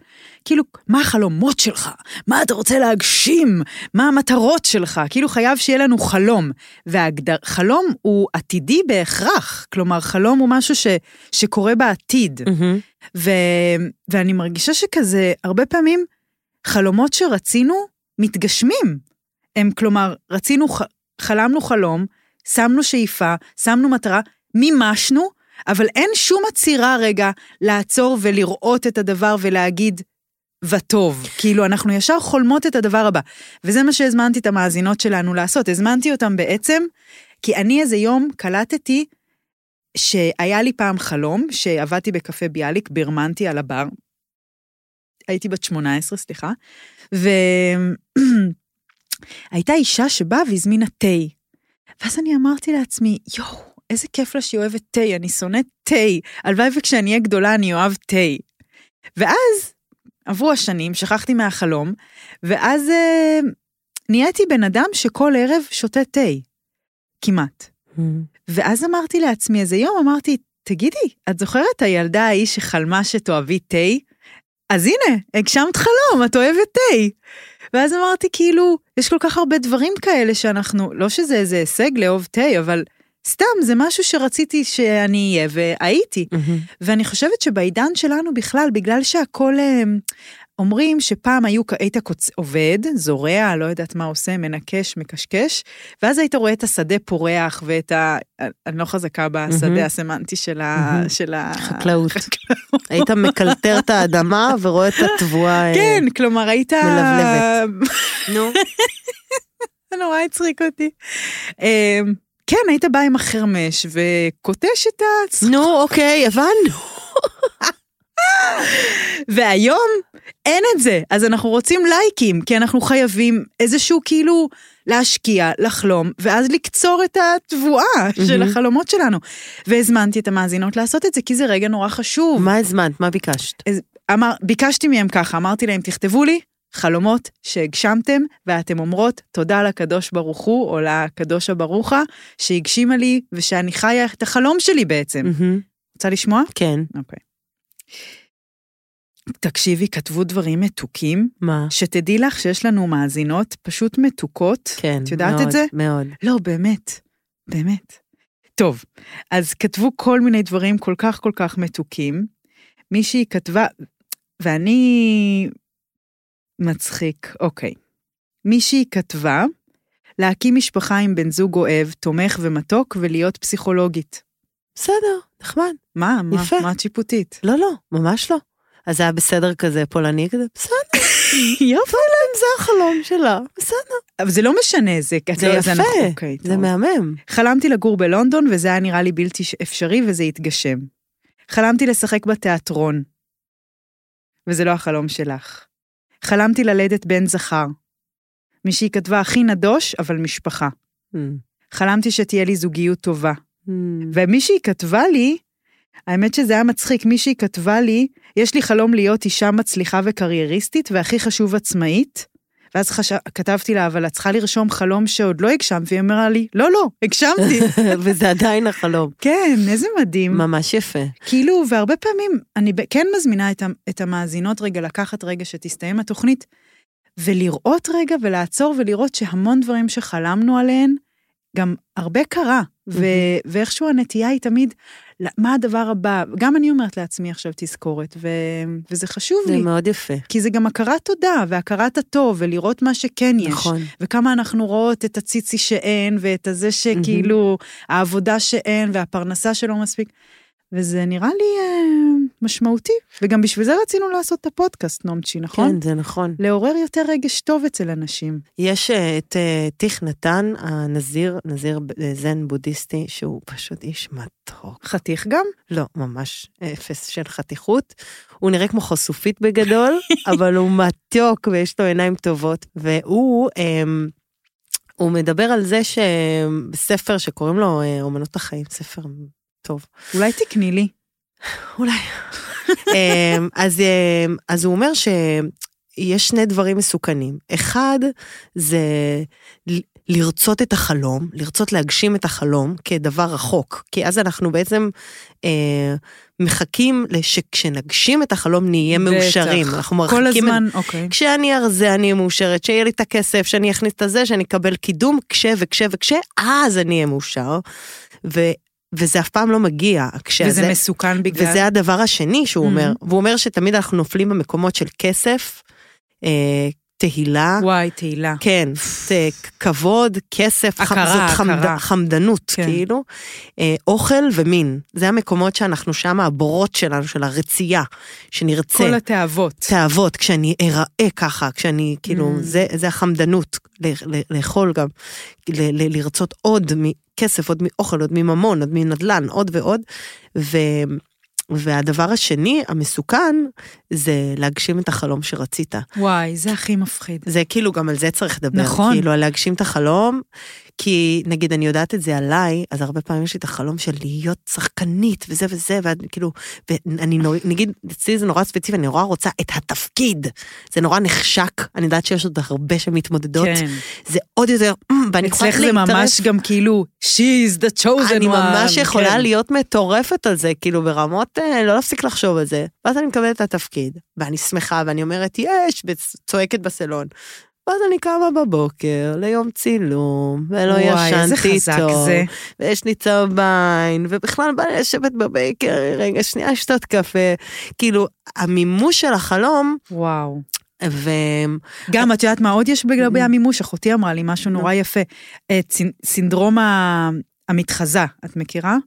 S1: כאילו, מה החלומות שלך? מה אתה רוצה להגשים? מה המטרות שלך? כאילו חייב שיהיה לנו חלום. והחלום הוא עתידי בהכרח, כלומר, חלום הוא משהו ש, שקורה בעתיד.
S2: מהמם.
S1: ו, ואני מרגישה שכזה, הרבה פעמים חלומות שרצינו מתגשמים. הם, כלומר, רצינו, ח- חלמנו חלום, שמנו שאיפה, שמנו מטרה, מימשנו, אבל אין שום עצירה רגע לעצור ולראות את הדבר ולהגיד, וטוב. כאילו, אנחנו ישר חולמות את הדבר הבא. וזה מה שהזמנתי את המאזינות שלנו לעשות. הזמנתי אותם בעצם, כי אני איזה יום קלטתי שהיה לי פעם חלום, שעבדתי בקפה ביאליק, ברמנתי על הבר. הייתי בת 18, סליחה. והייתה אישה שבאה והזמינה תה. ואז אני אמרתי לעצמי, יואו, איזה כיף לה שהיא אוהבת תה, אני שונאת תה. הלוואי וכשאני אהיה גדולה אני אוהב תה. ואז עברו השנים, שכחתי מהחלום, ואז אה, נהייתי בן אדם שכל ערב שותה תה. כמעט. ואז אמרתי לעצמי איזה יום, אמרתי, תגידי, את זוכרת את הילדה ההיא שחלמה שתאהבי תה? אז הנה, הגשמת חלום, את אוהבת תה. ואז אמרתי, כאילו, יש כל כך הרבה דברים כאלה שאנחנו, לא שזה איזה הישג לאהוב תה, אבל סתם, זה משהו שרציתי שאני אהיה, והייתי.
S2: מהמם.
S1: ואני חושבת שבעידן שלנו בכלל, בגלל שהכל, אה, אומרים שפעם היו, היית קוצ... עובד, זורע, לא יודעת מה עושה, מנקש, מקשקש, ואז היית רואה את השדה פורח ואת ה... אני לא חזקה
S2: מהמם.
S1: בשדה הסמנטי של ה...
S2: מהמם.
S1: של ה...
S2: חקלאות. היית מקלטר את האדמה ורואה את התבואה. אה,
S1: כן, כלומר, היית...
S2: מלבלבת. נו.
S1: זה נורא הצחיק אותי. אמ, כן, היית בא עם החרמש וקוטש את ה...
S2: נו, אוקיי, הבנו.
S1: והיום אין את זה, אז אנחנו רוצים לייקים, כי אנחנו חייבים איזשהו כאילו להשקיע, לחלום, ואז לקצור את התבואה של
S2: מהמם.
S1: החלומות שלנו. והזמנתי את המאזינות לעשות את זה, כי זה רגע נורא חשוב.
S2: מה הזמנת? מה ביקשת?
S1: אמר, ביקשתי מהם ככה, אמרתי להם, תכתבו לי חלומות שהגשמתם, ואתם אומרות תודה לקדוש ברוך הוא, או לקדוש הברוכה, שהגשימה לי, ושאני חיה את החלום שלי בעצם.
S2: מהמם.
S1: רוצה לשמוע?
S2: כן.
S1: אוקיי. תקשיבי, כתבו דברים מתוקים,
S2: מה?
S1: שתדעי לך שיש לנו מאזינות פשוט מתוקות.
S2: כן,
S1: את יודעת
S2: מאוד,
S1: את זה?
S2: מאוד.
S1: לא, באמת, באמת. טוב, אז כתבו כל מיני דברים כל כך כל כך מתוקים. מישהי כתבה, ואני... מצחיק, אוקיי. מישהי כתבה, להקים משפחה עם בן זוג אוהב, תומך ומתוק ולהיות פסיכולוגית.
S2: בסדר, נחמד.
S1: מה, מה,
S2: יפה.
S1: מה את שיפוטית?
S2: לא, לא, ממש לא. אז זה היה בסדר כזה, פולני כזה, בסדר,
S1: יופי.
S2: אם זה החלום שלה, בסדר.
S1: אבל זה לא משנה, זה... את
S2: זה
S1: לא-
S2: יפה,
S1: אנחנו- אוקיי,
S2: זה
S1: טוב.
S2: מהמם.
S1: חלמתי לגור בלונדון, וזה היה נראה לי בלתי ש- אפשרי, וזה התגשם. חלמתי לשחק בתיאטרון, וזה לא החלום שלך. חלמתי ללדת בן זכר. מישהי כתבה הכי נדוש, אבל משפחה.
S2: Mm.
S1: חלמתי שתהיה לי זוגיות טובה. ומישהי כתבה לי, האמת שזה היה מצחיק, מישהי כתבה לי, יש לי חלום להיות אישה מצליחה וקרייריסטית, והכי חשוב עצמאית. ואז חש... כתבתי לה, אבל את צריכה לרשום חלום שעוד לא הגשמת, והיא אמרה לי, לא, לא, הגשמתי.
S2: וזה עדיין החלום.
S1: כן, איזה מדהים.
S2: ממש יפה.
S1: כאילו, והרבה פעמים, אני ב- כן מזמינה את, ה- את המאזינות רגע, לקחת רגע שתסתיים התוכנית, ולראות רגע ולעצור ולראות שהמון דברים שחלמנו עליהן, גם הרבה קרה, ו- ואיכשהו הנטייה היא תמיד, "לא, מה הדבר הבא? גם אני אומרת לעצמי עכשיו תזכורת, ו- וזה חשוב
S2: זה
S1: לי,
S2: מאוד יפה.
S1: כי זה גם הכרת תודה, והכרת הטוב, ולראות מה שכן יש.
S2: נכון.
S1: וכמה אנחנו רואות את הציצי שאין, ואת הזה שכאילו, העבודה שאין, והפרנסה שלא מספיק. וזה נראה לי אה, משמעותי, וגם בשביל זה רצינו לעשות את הפודקאסט, נומצ'י, נכון?
S2: כן, זה נכון.
S1: לעורר יותר רגש טוב אצל אנשים.
S2: יש אה, את אה, טיך נתן, הנזיר, נזיר ב- אה, זן בודהיסטי, שהוא פשוט איש מתוק.
S1: חתיך גם?
S2: לא, ממש אפס של חתיכות. הוא נראה כמו חשופית בגדול, אבל הוא מתוק ויש לו עיניים טובות. והוא, אמ, הוא מדבר על זה שבספר שקוראים לו אה, אומנות החיים, ספר טוב.
S1: אולי תקני לי.
S2: אולי. אמ, אז, אמ, אז הוא אומר שיש שני דברים מסוכנים. אחד, זה ל- לרצות את החלום, לרצות להגשים את החלום כדבר רחוק, כי אז אנחנו בעצם אה, מחכים שכשנגשים את החלום נהיה
S1: בטח.
S2: מאושרים. אנחנו מרחיקים...
S1: כל
S2: את-
S1: הזמן, אוקיי.
S2: כשאני ארזה אני אהיה מאושרת, שיהיה לי את הכסף, שאני אכניס את הזה, שאני אקבל קידום, כש וכש וכש, אז אני אהיה מאושר. ו, וזה אף פעם לא מגיע. כשהזה-
S1: וזה מסוכן בגלל...
S2: וזה הדבר השני שהוא אומר,
S1: Mhm.
S2: והוא אומר שתמיד אנחנו נופלים במקומות של כסף, אה, תהילה,
S1: וואי, תהילה.
S2: כן, זה כבוד, כסף, חם-
S1: הכרה,
S2: זאת חמד-
S1: הכרה.
S2: חמדנות,
S1: כן.
S2: כאילו, אה, אוכל ומין, זה המקומות שאנחנו שם, הבורות שלנו, של הרצייה, שנרצה.
S1: כל התאוות.
S2: תאוות, כשאני אראה ככה, כשאני, כאילו,
S1: Mm.
S2: זה, זה החמדנות, ל- ל- לאכול גם, ל- ל- לרצות עוד מכסף, עוד מאוכל, עוד מממון, עוד מנדלן, עוד ועוד. ו, והדבר השני, המסוכן, זה להגשים את החלום שרצית.
S1: וואי, זה הכי מפחיד.
S2: זה כאילו, גם על זה צריך לדבר.
S1: נכון.
S2: כאילו, על להגשים את החלום, כי נגיד, אני יודעת את זה עליי, אז הרבה פעמים יש לי את החלום של להיות שחקנית וזה וזה, וכאילו, ואני נו- נגיד, אצלי זה נורא ספציפי, אני נורא רוצה את התפקיד. זה נורא נחשק, אני יודעת שיש עוד הרבה שמתמודדות.
S1: כן.
S2: זה עוד יותר, "מ, ואני יכולה
S1: אצלך זה ממש גם כאילו, She is the chosen one.
S2: אני ממש יכולה
S1: כן.
S2: להיות מטורפת על זה, כאילו ברמות אה, לא להפסיק לחשוב על זה. ואז אני מקבלת את התפקיד, ואני שמחה, ואני אומרת, יש, וצועקת בסלון. ואז אני קמה בבוקר ליום צילום, ולא
S1: וואי, איזה
S2: ישנתי
S1: חזק
S2: טוב,
S1: זה.
S2: ויש לי צהביים, ובכלל בא לי לשבת בבייקר, רגע, שנייה, לשתות קפה. כאילו, המימוש של החלום,
S1: וואו.
S2: ו...
S1: גם, את יודעת מה עוד יש לגבי המימוש? אחותי אמרה לי משהו נורא יפה. אה, צינ- סינדרום ה- המתחזה, את מכירה?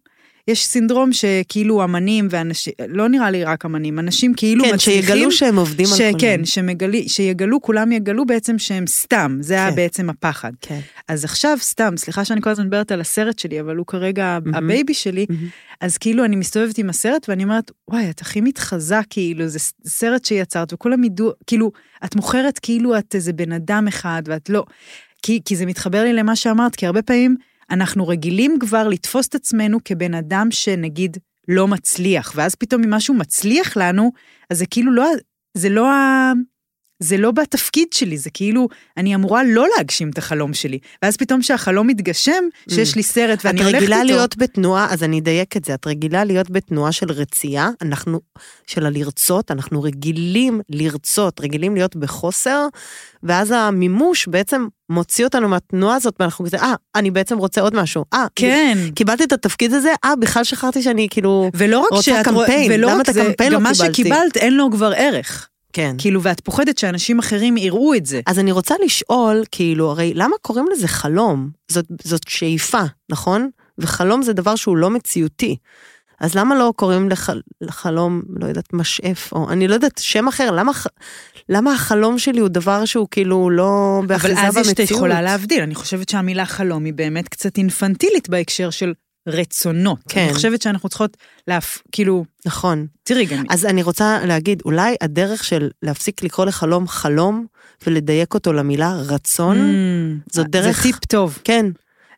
S1: יש סינדרום שכאילו אמנים ואנשים, לא נראה לי רק אמנים, אנשים כאילו
S2: כן,
S1: מצליחים... כן.
S2: שיגלו שהם עובדים על חלום.
S1: שכן, שמגלי, שיגלו, כולם יגלו בעצם שהם סתם, זה היה
S2: כן.
S1: בעצם הפחד.
S2: כן.
S1: אז עכשיו סתם, סליחה שאני כל הזמן מדברת על הסרט שלי, אבל הוא כרגע
S2: מהמם.
S1: הבייבי שלי,
S2: מהמם.
S1: אז כאילו אני מסתובבת עם הסרט ואני אומרת, וואי, את הכי מתחזה, כאילו, זה ס- סרט שיצרת, וכולם ידעו, כאילו, את מוכרת כאילו את איזה בן אדם אחד, ואת לא... כי, כי זה מתחבר לי למה שאמרת, כי הרבה פעמים אנחנו רגילים כבר לתפוס את עצמנו כבן אדם שנגיד לא מצליח, ואז פתאום אם משהו מצליח לנו, אז זה כאילו לא, זה לא ה... זה לא בתפקיד שלי, זה כאילו, אני אמורה לא להגשים את החלום שלי. ואז פתאום שהחלום מתגשם, שיש לי סרט
S2: Mm. את
S1: ואני הולכת איתו.
S2: רגילה להיות בתנועה, אז אני אדייק את זה, את רגילה להיות בתנועה של רצייה, אנחנו, של הלרצות, אנחנו רגילים לרצות, רגילים להיות בחוסר, ואז המימוש בעצם מוציא אותנו מהתנועה הזאת, ואנחנו כזה, אה, אני בעצם רוצה עוד משהו, אה,
S1: כן.
S2: קיבלתי את התפקיד הזה, אה, בכלל שכחתי שאני כאילו...
S1: ולא רק
S2: רוצה
S1: שאת... רוא-
S2: קמפיין,
S1: ולא
S2: למה
S1: רק
S2: את
S1: זה,
S2: הקמפיין לא
S1: גם מה
S2: קיבלתי?
S1: שקיבלת, אין לו כבר ערך.
S2: כן.
S1: כאילו, ואת פוחדת שאנשים אחרים יראו את זה.
S2: אז אני רוצה לשאול, כאילו, הרי למה קוראים לזה חלום? זאת, זאת שאיפה, נכון? וחלום זה דבר שהוא לא מציאותי. אז למה לא קוראים לח, לחלום, לא יודעת, משאף, או אני לא יודעת, שם אחר, למה, ח- למה החלום שלי הוא דבר שהוא כאילו לא באחיזה
S1: אבל
S2: במציאות?
S1: אז יש את היכולה להבדיל. אני חושבת שהמילה חלום היא באמת קצת אינפנטילית בהקשר של רצונות.
S2: כן.
S1: אני חושבת שאנחנו צריכות להפ... כאילו,
S2: נכון.
S1: תראי גם...
S2: אז אני רוצה להגיד, אולי הדרך של להפסיק לקרוא לחלום חלום, ולדייק אותו למילה רצון,
S1: Mm, זה
S2: זאת דרך-
S1: טיפ טוב.
S2: כן,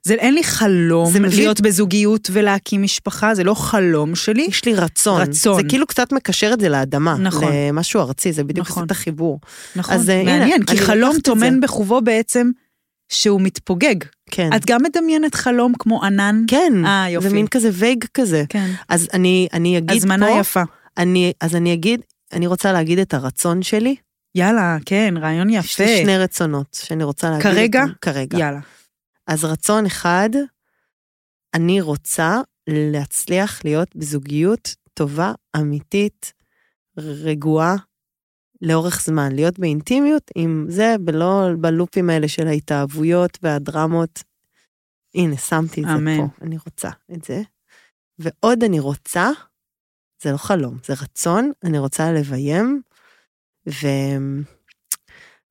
S1: זה אין לי חלום
S2: זה מביא-
S1: להיות בזוגיות ולהקים משפחה, זה לא חלום שלי.
S2: יש לי רצון.
S1: רצון.
S2: זה כאילו קצת מקשר את זה לאדמה.
S1: נכון.
S2: למשהו ארצי, זה בדיוק
S1: נכון.
S2: קצת החיבור.
S1: נכון,
S2: אז, אה, הנה,
S1: מעניין, כי
S2: אני
S1: חלום
S2: לוקחת את
S1: טומן
S2: זה.
S1: בחובו בעצם שהוא מתפוגג.
S2: כן.
S1: את גם מדמיינת חלום כמו ענן?
S2: כן.
S1: אה, יופי.
S2: זה מין כזה וייג כזה.
S1: כן.
S2: אז אני, אני אגיד
S1: הזמנה
S2: פה,
S1: יפה.
S2: אני, אז אני אגיד, אני רוצה להגיד את הרצון שלי.
S1: יאללה, כן, רעיון
S2: יש
S1: יפה.
S2: לי שני רצונות שאני רוצה להגיד.
S1: כרגע?
S2: אותם. כרגע.
S1: יאללה.
S2: אז רצון אחד, אני רוצה להצליח להיות בזוגיות טובה, אמיתית, רגועה, לאורך זמן. להיות באינטימיות עם זה, ולא בלופים האלה של ההתאהבויות והדרמות. הנה, שמתי את
S1: אמן.
S2: זה פה, אני רוצה את זה. ועוד אני רוצה, זה לא חלום, זה רצון, אני רוצה לביים, ו...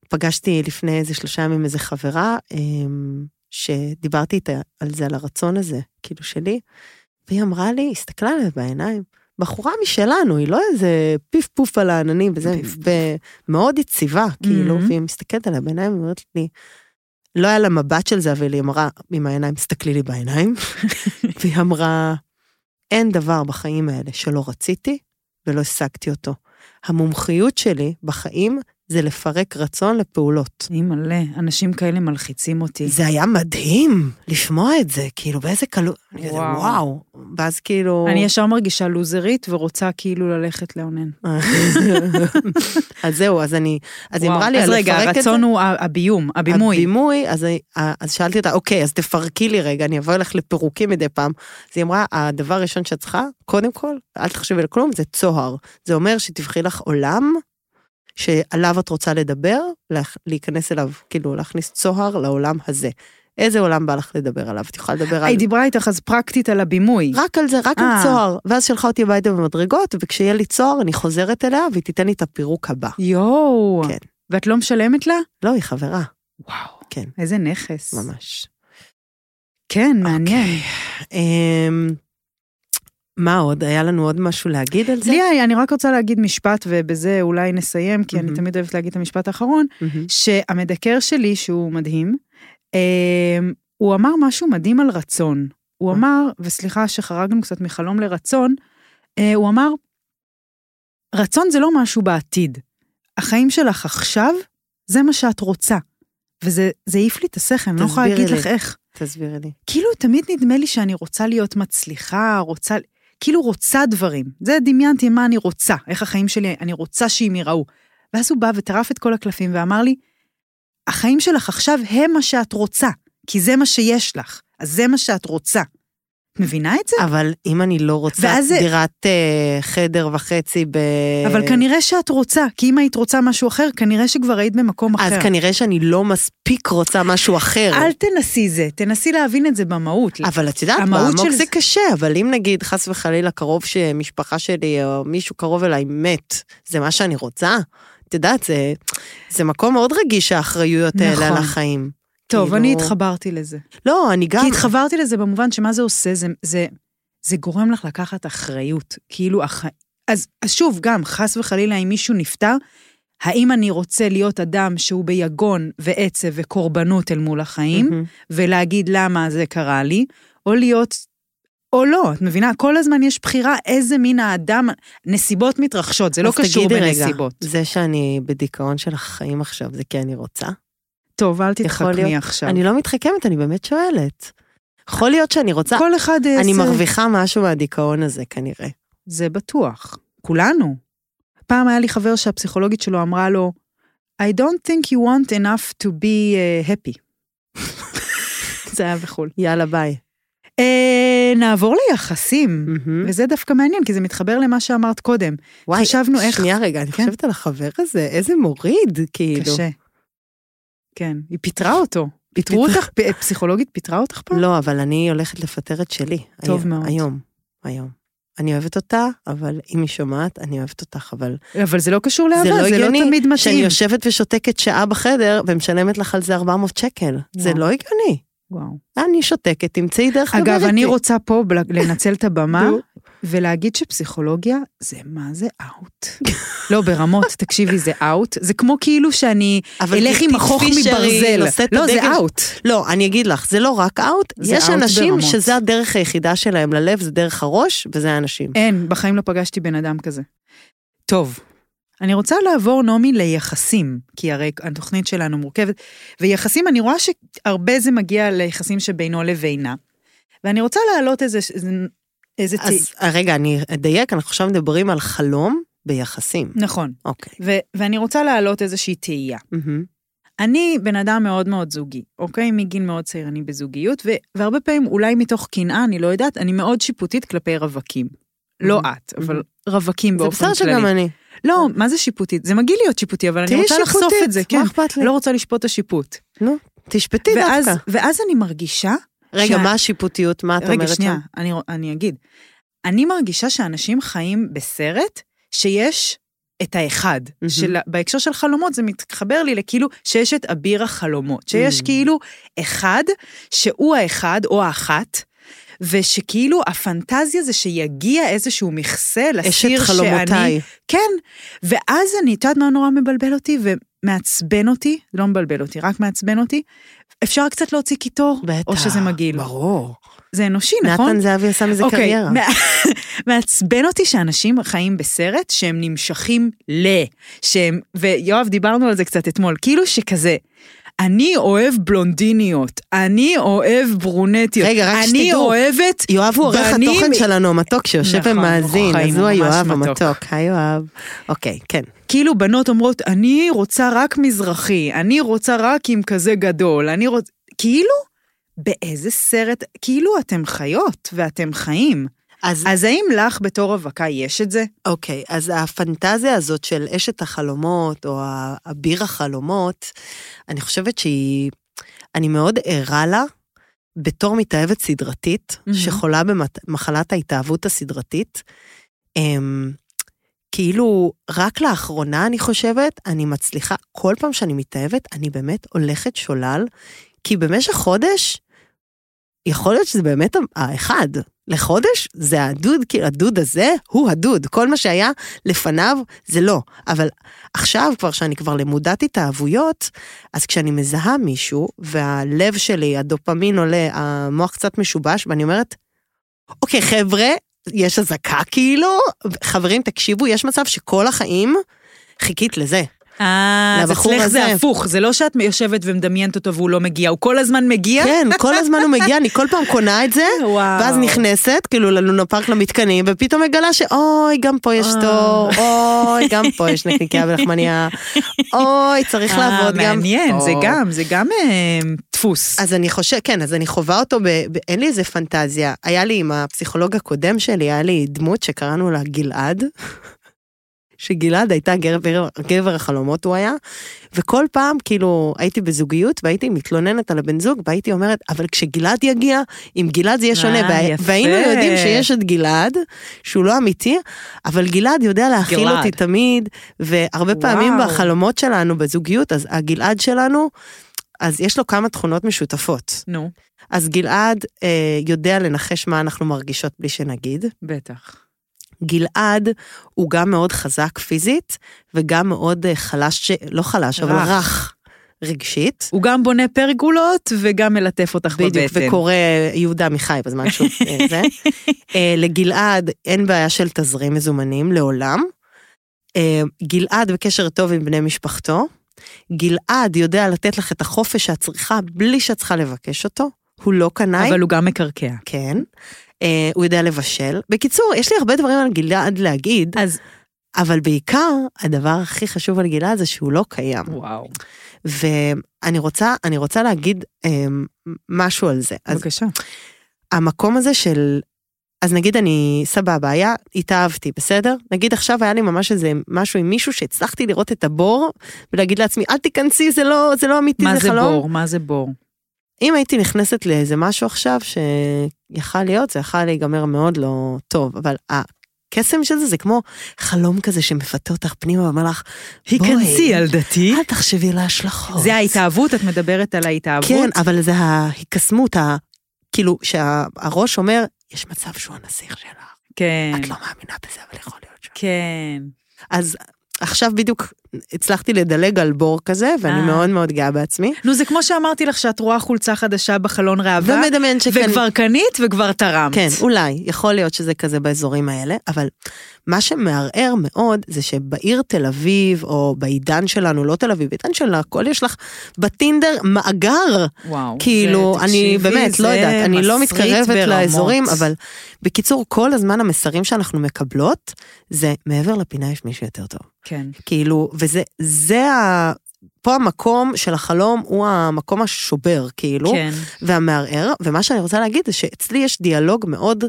S2: פגשתי לפני איזה שלושה ימים איזה חברה, אמ, שדיברתי איתה על זה, על הרצון הזה, כאילו שלי, והיא אמרה לי, הסתכלה עליה בעיניים, בחורה משלנו, היא לא איזה פיף פוף על העננים, וזה
S1: פיף
S2: ו- מאוד יציבה, כאילו,
S1: Mhm.
S2: והיא מסתכלת עליה בעיניים ואומרת לי, לא היה לה מבט של זה, אבל היא אמרה עם העיניים, תסתכלי לי בעיניים, והיא אמרה, אין דבר בחיים האלה שלא רציתי ולא השגתי אותו. המומחיות שלי בחיים זה לפרק רצון לפעולות.
S1: אני מלא, אנשים כאלה מלחיצים אותי.
S2: זה היה מדהים לשמוע את זה, כאילו באיזה קלות, אני כזה,
S1: וואו.
S2: וואו. ואז כאילו...
S1: אני ישר מרגישה לוזרית ורוצה כאילו ללכת לאונן.
S2: אז זהו, אז אני, אז היא
S1: וואו.
S2: אמרה לי,
S1: אז
S2: "על
S1: רגע,
S2: לפרק את
S1: הרצון
S2: זה?"
S1: הוא ה- הביום, הבימוי.
S2: הבימוי, אז, אני- אז שאלתי אותה, אוקיי, אז תפרקי לי רגע, אני אבוא אלייך לפירוקים מדי פעם. אז היא אמרה, הדבר הראשון שאת צריכה, קודם כל, אל תחשבי על כלום, זה צוהר. זה אומר שתבחרי לך עולם שעליו את רוצה לדבר, להכ- להיכנס אליו, כאילו, להכניס צוהר לעולם הזה. איזה עולם בא לך לדבר עליו? את יכולה לדבר על...
S1: היא דיברה איתך אז פרקטית על הבימוי.
S2: רק על זה, רק
S1: אה.
S2: על צוהר. ואז שלחה אותי הביתה במדרגות, וכשיהיה לי צוהר, אני חוזרת אליה, והיא תיתן לי את הפירוק הבא.
S1: יואו.
S2: כן.
S1: ואת לא משלמת לה?
S2: לא, היא חברה,
S1: וואו.
S2: כן.
S1: איזה נכס.
S2: ממש. אוקיי.
S1: כן, מעניין.
S2: אמ, מה עוד? היה לנו עוד משהו להגיד על זה?
S1: לי, אני רק רוצה להגיד משפט, ובזה אולי נסיים, כי אני
S2: מהמם.
S1: תמיד אוהבת להגיד את המשפט האחרון,
S2: מהמם.
S1: שהמדקר שלי, שהוא מדהים, אמ, הוא אמר משהו מדהים על רצון. הוא
S2: אה.
S1: אמר, וסליחה שחרגנו קצת מחלום לרצון, אה, הוא אמר, רצון זה לא משהו בעתיד. החיים שלך עכשיו, זה מה שאת רוצה. וזה זה העיף לי את השכל, אני לא יכולה
S2: תסבירי
S1: להגיד
S2: לי.
S1: לך איך.
S2: תסבירי לי.
S1: כאילו, תמיד נדמה לי שאני רוצה להיות מצליחה, רוצה... כאילו רוצה דברים. זה דמיינתי מה אני רוצה, איך החיים שלי, אני רוצה שהם ייראו. ואז הוא בא וטרף את כל הקלפים ואמר לי, החיים שלך עכשיו הם מה שאת רוצה, כי זה מה שיש לך, אז זה מה שאת רוצה. את מבינה את זה?
S2: אבל אם אני לא רוצה
S1: ואז זה-
S2: דירת אה, חדר וחצי ב...
S1: אבל
S2: אה.
S1: כנראה שאת רוצה, כי אם היית רוצה משהו אחר, כנראה שכבר היית במקום אחר.
S2: אז כנראה שאני לא מספיק רוצה משהו אחר.
S1: אל תנסי זה, תנסי להבין את זה במהות.
S2: אבל את יודעת,
S1: המהות
S2: בעמוק
S1: של
S2: זה
S1: זה-
S2: קשה, אבל אם נגיד חס וחלילה קרוב שמשפחה שלי או מישהו קרוב אליי מת, זה מה שאני רוצה? את יודעת, זה, זה מקום מאוד רגיש האחריויות האלה על
S1: נכון.
S2: החיים.
S1: טוב,
S2: כאילו-
S1: אני התחברתי לזה.
S2: לא, אני גם...
S1: כי התחברתי לזה במובן שמה זה עושה, זה, זה, זה גורם לך לקחת אחריות. כאילו, הח... אז, אז שוב, גם, חס וחלילה, אם מישהו נפטר, האם אני רוצה להיות אדם שהוא ביגון ועצב וקורבנות אל מול החיים,
S2: מהמם.
S1: ולהגיד למה זה קרה לי, או להיות... או לא, את מבינה? כל הזמן יש בחירה איזה מין האדם, נסיבות מתרחשות, זה לא
S2: אז
S1: קשור
S2: תגידי רגע,
S1: בנסיבות.
S2: זה שאני בדיכאון של החיים עכשיו, זה כי אני רוצה?
S1: טוב, אל
S2: יכול
S1: תתחכמי
S2: להיות.
S1: עכשיו.
S2: אני לא מתחכמת, אני באמת שואלת. יכול להיות שאני רוצה,
S1: כל אחד... אה,
S2: אני
S1: זה-
S2: מרוויחה משהו מהדיכאון הזה כנראה.
S1: זה בטוח. כולנו. פעם היה לי חבר שהפסיכולוגית שלו אמרה לו, I don't think you want enough to be uh, happy. זה היה בחו"ל.
S2: יאללה, ביי.
S1: Uh, נעבור ליחסים,
S2: מהמם.
S1: וזה דווקא מעניין, כי זה מתחבר למה שאמרת קודם.
S2: וואי,
S1: חשבנו איך-
S2: שנייה רגע, אני
S1: כן.
S2: חושבת על החבר הזה, איזה מוריד, כאילו.
S1: קשה. כן, היא פיטרה אותו. פיטרו
S2: פיטרה.
S1: אותך, פ- פסיכולוגית פיטרה אותך פעם?
S2: לא, אבל אני הולכת לפטר את שלי.
S1: טוב
S2: היום,
S1: מאוד.
S2: היום, היום. אני אוהבת אותה, אבל אם היא שומעת, אני אוהבת אותך, אבל
S1: אבל זה לא קשור לאהבה,
S2: זה
S1: זה
S2: לא
S1: לא,
S2: הגיוני
S1: תמיד
S2: שאני
S1: מתאים.
S2: יושבת ושותקת שעה בחדר ומשלמת לך על זה 400 שקל. זה
S1: וואו.
S2: לא הגיוני.
S1: וואו.
S2: אני שותקת, תמצאי דרך לדבר
S1: אגב, אני
S2: איתי.
S1: רוצה פה בל- לנצל את הבמה
S2: נו.
S1: ולהגיד שפסיכולוגיה זה מה זה אאוט. לא, ברמות, תקשיבי, זה אאוט. זה כמו כאילו שאני
S2: אבל
S1: אלך עם
S2: גיטית
S1: החוך
S2: פישר היא
S1: מברזל.
S2: נושאת
S1: לא,
S2: הדגל.
S1: זה אאוט.
S2: לא, אני אגיד לך, זה לא רק אאוט,
S1: זה
S2: יש
S1: out
S2: אנשים
S1: ברמות.
S2: שזה הדרך היחידה שלהם ללב, זה דרך הראש, וזה האנשים.
S1: אין, בחיים לא פגשתי בן אדם כזה. טוב, אני רוצה לעבור, נעמי, ליחסים, כי הרי התוכנית שלנו מורכבת, ויחסים, אני רואה שהרבה זה מגיע ליחסים שבינו לבינה. ואני רוצה להעלות איזה... איזה צי...
S2: אז אה, רגע, אני אדייק, אנחנו עכשיו מדברים על חלום ביחסים.
S1: נכון.
S2: אוקיי.
S1: ו- ואני רוצה להעלות איזושהי תהייה.
S2: מהמם.
S1: אני בן אדם מאוד מאוד זוגי, אוקיי? מגיל מאוד צעיר אני בזוגיות, ו- והרבה פעמים, אולי מתוך קנאה, אני לא יודעת, אני מאוד שיפוטית כלפי רווקים. לא את, אבל רווקים
S2: אוקיי. זה
S1: באופן
S2: בסדר
S1: כללי.
S2: שגם אני.
S1: לא, מה זה שיפוטית? זה מגעיל להיות שיפוטי, אבל אני
S2: תהיי
S1: רוצה לחשוף
S2: שיפוטית,
S1: את זה,
S2: מה
S1: כן.
S2: אכפת לי?
S1: לא רוצה לשפוט את השיפוט.
S2: נו, תשפטי
S1: ואז,
S2: דווקא.
S1: ואז אני מרגישה...
S2: רגע,
S1: שה-
S2: מה השיפוטיות? מה את אומרת?
S1: רגע, שנייה,
S2: שם?
S1: אני, אני אגיד. אני מרגישה שאנשים חיים בסרט שיש את האחד.
S2: מהמם.
S1: של, בהקשר של חלומות זה מתחבר לי לכאילו שיש את אביר החלומות, שיש
S2: Mm.
S1: כאילו אחד שהוא האחד או האחת. ושכאילו הפנטזיה זה שיגיע איזשהו מכסה
S2: אשת
S1: לסיר שאני...
S2: חלומותיי.
S1: כן, ואז אני, את יודעת מה נורא מבלבל אותי ומעצבן אותי, לא מבלבל אותי, רק מעצבן אותי, אפשר קצת להוציא קיטור, או שזה מגעיל.
S2: ברור.
S1: זה אנושי, נכון?
S2: נתן זהבי עשה מזה
S1: אוקיי,
S2: קריירה.
S1: מע- מעצבן אותי שאנשים חיים בסרט שהם נמשכים ל... שהם, ויואב, דיברנו על זה קצת אתמול, כאילו שכזה, אני אוהב בלונדיניות, אני אוהב ברונטיות,
S2: רגע, רק
S1: אני
S2: שתדעו.
S1: אוהבת...
S2: יואב הוא עורך
S1: ואני-
S2: התוכן שלנו המתוק שיושב
S1: נכון,
S2: ומאזין,
S1: חיים,
S2: אז הוא
S1: הוא ממש
S2: היואב
S1: מתוק.
S2: המתוק. היי יואב. אוקיי, כן.
S1: כאילו בנות אומרות, אני רוצה רק מזרחי, אני רוצה רק עם כזה גדול, אני רוצה... כאילו, באיזה סרט, כאילו אתם חיות ואתם חיים.
S2: אז
S1: אז האם לך בתור רווקה יש את זה?
S2: אוקיי, אז הפנטזיה הזאת של אשת החלומות, או ה- אביר החלומות, אני חושבת שהיא... אני מאוד ערה לה בתור מתאהבת סדרתית,
S1: מהמם.
S2: שחולה במחלת ההתאהבות הסדרתית. אמ, כאילו, רק לאחרונה, אני חושבת, אני מצליחה, כל פעם שאני מתאהבת, אני באמת הולכת שולל, כי במשך חודש, יכול להיות שזה באמת האחד. לחודש זה הדוד, כאילו הדוד הזה הוא הדוד, כל מה שהיה לפניו זה לא. אבל עכשיו כבר, שאני כבר למודת התאהבויות, אז כשאני מזהה מישהו, והלב שלי, הדופמין עולה, המוח קצת משובש, ואני אומרת, אוקיי, חבר'ה, יש אזעקה כאילו, חברים, תקשיבו, יש מצב שכל החיים חיכית לזה.
S1: אה, אז
S2: לבחור
S1: אצלך זה
S2: הזה.
S1: הפוך, זה לא שאת יושבת ומדמיינת אותו והוא לא מגיע, הוא כל הזמן מגיע?
S2: כן, כל הזמן הוא מגיע, אני כל פעם קונה את זה,
S1: וואו.
S2: כן, ואז נכנסת, כאילו ללונה פארק למתקנים, ופתאום מגלה שאוי, גם פה יש
S1: אה.
S2: תור, אוי, גם פה יש נקניקיה ולחמניה, אוי, צריך
S1: אה,
S2: לעבוד גם.
S1: מעניין, זה
S2: פה."
S1: גם, זה גם אה, דפוס.
S2: אז אני חושב, כן, אז אני חווה אותו, ב, ב, אין לי איזה פנטזיה. היה לי עם הפסיכולוג הקודם שלי, היה לי דמות שקראנו לה גלעד, שגלעד הייתה גבר, גבר החלומות הוא היה, וכל פעם כאילו הייתי בזוגיות והייתי מתלוננת על הבן זוג והייתי אומרת, אבל כשגלעד יגיע, עם גלעד זה יהיה שונה,
S1: אה,
S2: וה-
S1: יפה.
S2: והיינו יודעים שיש את גלעד, שהוא לא אמיתי, אבל גלעד יודע להכיל
S1: גלעד.
S2: אותי תמיד, והרבה פעמים
S1: וואו.
S2: בחלומות שלנו בזוגיות, אז הגלעד שלנו, אז יש לו כמה תכונות משותפות.
S1: נו,
S2: אז גלעד אה, יודע לנחש מה אנחנו מרגישות בלי שנגיד.
S1: בטח.
S2: גלעד הוא גם מאוד חזק פיזית, וגם מאוד אה, חלש, ש- לא חלש, אבל
S1: רך.
S2: רך רגשית.
S1: הוא גם בונה פרגולות וגם מלטף אותך בבטן.
S2: בדיוק, וקורא יהודה עמיחי בזמן שהוא אה, זה. אה, לגלעד אין בעיה של תזרים מזומנים לעולם. אה, גלעד בקשר טוב עם בני משפחתו. גלעד יודע לתת לך את החופש שאת צריכה בלי שאת צריכה לבקש אותו. הוא לא קנאי.
S1: אבל הוא גם מקרקע.
S2: כן. אה, הוא יודע לבשל. בקיצור, יש לי הרבה דברים על גלעד להגיד,
S1: אז
S2: אבל בעיקר, הדבר הכי חשוב על גלעד זה שהוא לא קיים.
S1: וואו.
S2: ואני רוצה, אני רוצה להגיד אה, משהו על זה. אז
S1: בבקשה.
S2: המקום הזה של... אז נגיד אני, סבבה, היה, התאהבתי, בסדר? נגיד עכשיו היה לי ממש איזה משהו עם מישהו שהצלחתי לראות את הבור ולהגיד לעצמי, אל תיכנסי, זה לא, זה לא אמיתי,
S1: מה
S2: זה
S1: זה
S2: חלום.
S1: בור? מה זה בור?
S2: אם הייתי נכנסת לאיזה משהו עכשיו שיכל להיות, זה יכל להיגמר מאוד לא טוב, אבל הקסם של זה זה כמו חלום כזה שמפתה אותך פנימה ואומר לך,
S1: היכנסי, ילדתי.
S2: אל תחשבי להשלכות.
S1: זה ההתאהבות, את מדברת על ההתאהבות?
S2: כן, אבל זה ההיקסמות, ה... כאילו, שהראש אומר, יש מצב שהוא הנסיך שלך,
S1: כן.
S2: את לא מאמינה בזה, אבל יכול להיות שהוא.
S1: כן.
S2: אז עכשיו בדיוק הצלחתי לדלג על בור כזה, ואני
S1: אה.
S2: מאוד מאוד גאה בעצמי.
S1: נו, זה כמו שאמרתי לך שאת רואה חולצה חדשה בחלון ראווה,
S2: ומדמיין שכן.
S1: וכבר קנית וכבר תרמת.
S2: כן, אולי, יכול להיות שזה כזה באזורים האלה, אבל מה שמערער מאוד זה שבעיר תל אביב, או בעידן שלנו, לא תל אביב, בעידן של הכל יש לך בטינדר מאגר.
S1: וואו.
S2: כאילו,
S1: זה- תקשיבי,
S2: אני באמת לא
S1: זה
S2: יודעת, אני לא
S1: מסריט
S2: מתקרבת
S1: ברמות.
S2: לאזורים, אבל בקיצור, כל הזמן המסרים שאנחנו מקבלות, זה מעבר לפינה יש מישהו יותר טוב.
S1: כן.
S2: כאילו, וזה, זה ה... פה המקום של החלום הוא המקום השובר, כאילו.
S1: כן.
S2: והמערער, ומה שאני רוצה להגיד זה שאצלי יש דיאלוג מאוד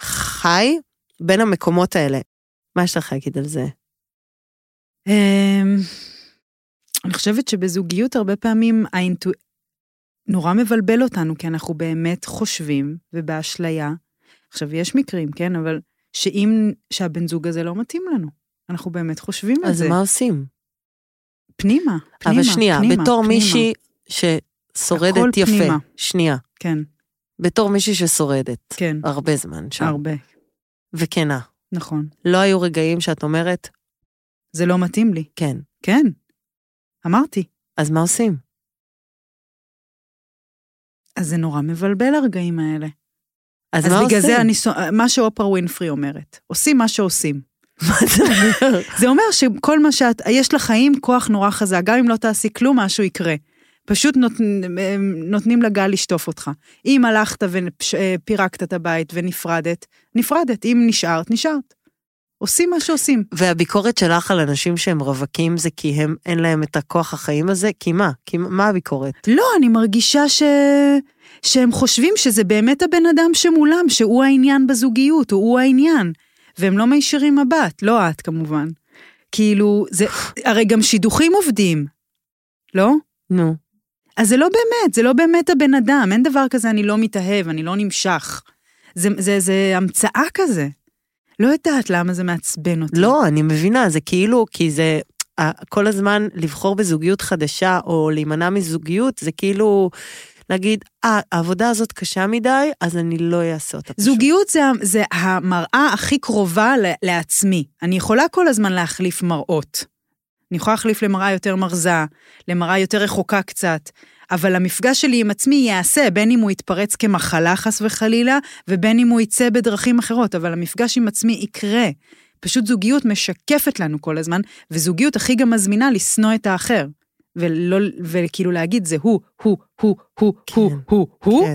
S2: חי בין המקומות האלה. מה יש לך להגיד על זה?
S1: אמ, אני חושבת שבזוגיות הרבה פעמים האינטו... נורא מבלבל אותנו, כי אנחנו באמת חושבים, ובאשליה. עכשיו, יש מקרים, כן? אבל שאם... שהבן זוג הזה לא מתאים לנו. אנחנו באמת חושבים את
S2: אז
S1: זה.
S2: מה עושים?
S1: פנימה, פנימה,
S2: אבל שנייה,
S1: פנימה,
S2: בתור
S1: פנימה.
S2: מישהי ששורדת
S1: הכל
S2: יפה,
S1: פנימה.
S2: שנייה,
S1: כן,
S2: בתור מישהי ששורדת
S1: כן,
S2: הרבה זמן שם,
S1: הרבה,
S2: וכנה,
S1: נכון.
S2: לא היו רגעים שאת אומרת,
S1: זה לא מתאים לי.
S2: כן,
S1: כן, אמרתי.
S2: אז מה עושים?
S1: אז זה נורא מבלבל הרגעים האלה.
S2: אז
S1: אז
S2: מה
S1: בגלל
S2: עושים?
S1: זה אני, ס- מה שאופרה ווינפרי אומרת, עושים מה שעושים.
S2: מה זה אומר?
S1: זה אומר שכל מה שאת, יש לחיים כוח נורא חזק, גם אם לא תעשי כלום, משהו יקרה. פשוט נות, אמ, נותנים לגל לשטוף אותך. אם הלכת ופירקת את הבית ונפרדת, נפרדת. אם נשארת, נשארת. עושים מה שעושים.
S2: והביקורת שלך על אנשים שהם רווקים זה כי הם, אין להם את הכוח החיים הזה? כי מה? כי מה הביקורת?
S1: לא, אני מרגישה ש... שהם חושבים שזה באמת הבן אדם שמולם, שהוא העניין בזוגיות, הוא העניין. והם לא מישירים מבט, לא את כמובן. כאילו, זה, הרי גם שידוכים עובדים, לא?
S2: נו.
S1: אז זה לא באמת, זה לא באמת הבן אדם, אין דבר כזה אני לא מתאהב, אני לא נמשך. זה, זה, זה המצאה כזה. לא יודעת למה זה מעצבן אותי.
S2: לא, אני מבינה, זה כאילו, כי זה... ה- כל הזמן לבחור בזוגיות חדשה או להימנע מזוגיות, זה כאילו להגיד, אה, העבודה הזאת קשה מדי, אז אני לא אעשה אותה פשוט.
S1: זוגיות זה, זה המראה הכי קרובה ל- לעצמי. אני יכולה כל הזמן להחליף מראות. אני יכולה להחליף למראה יותר מרזה, למראה יותר רחוקה קצת, אבל המפגש שלי עם עצמי ייעשה, בין אם הוא יתפרץ כמחלה חס וחלילה, ובין אם הוא יצא בדרכים אחרות, אבל המפגש עם עצמי יקרה. פשוט זוגיות משקפת לנו כל הזמן, וזוגיות הכי גם מזמינה לשנוא את האחר. ולא, וכאילו להגיד זה הוא, הוא, הוא, הוא, הוא,
S2: כן,
S1: הוא, הוא,
S2: כן.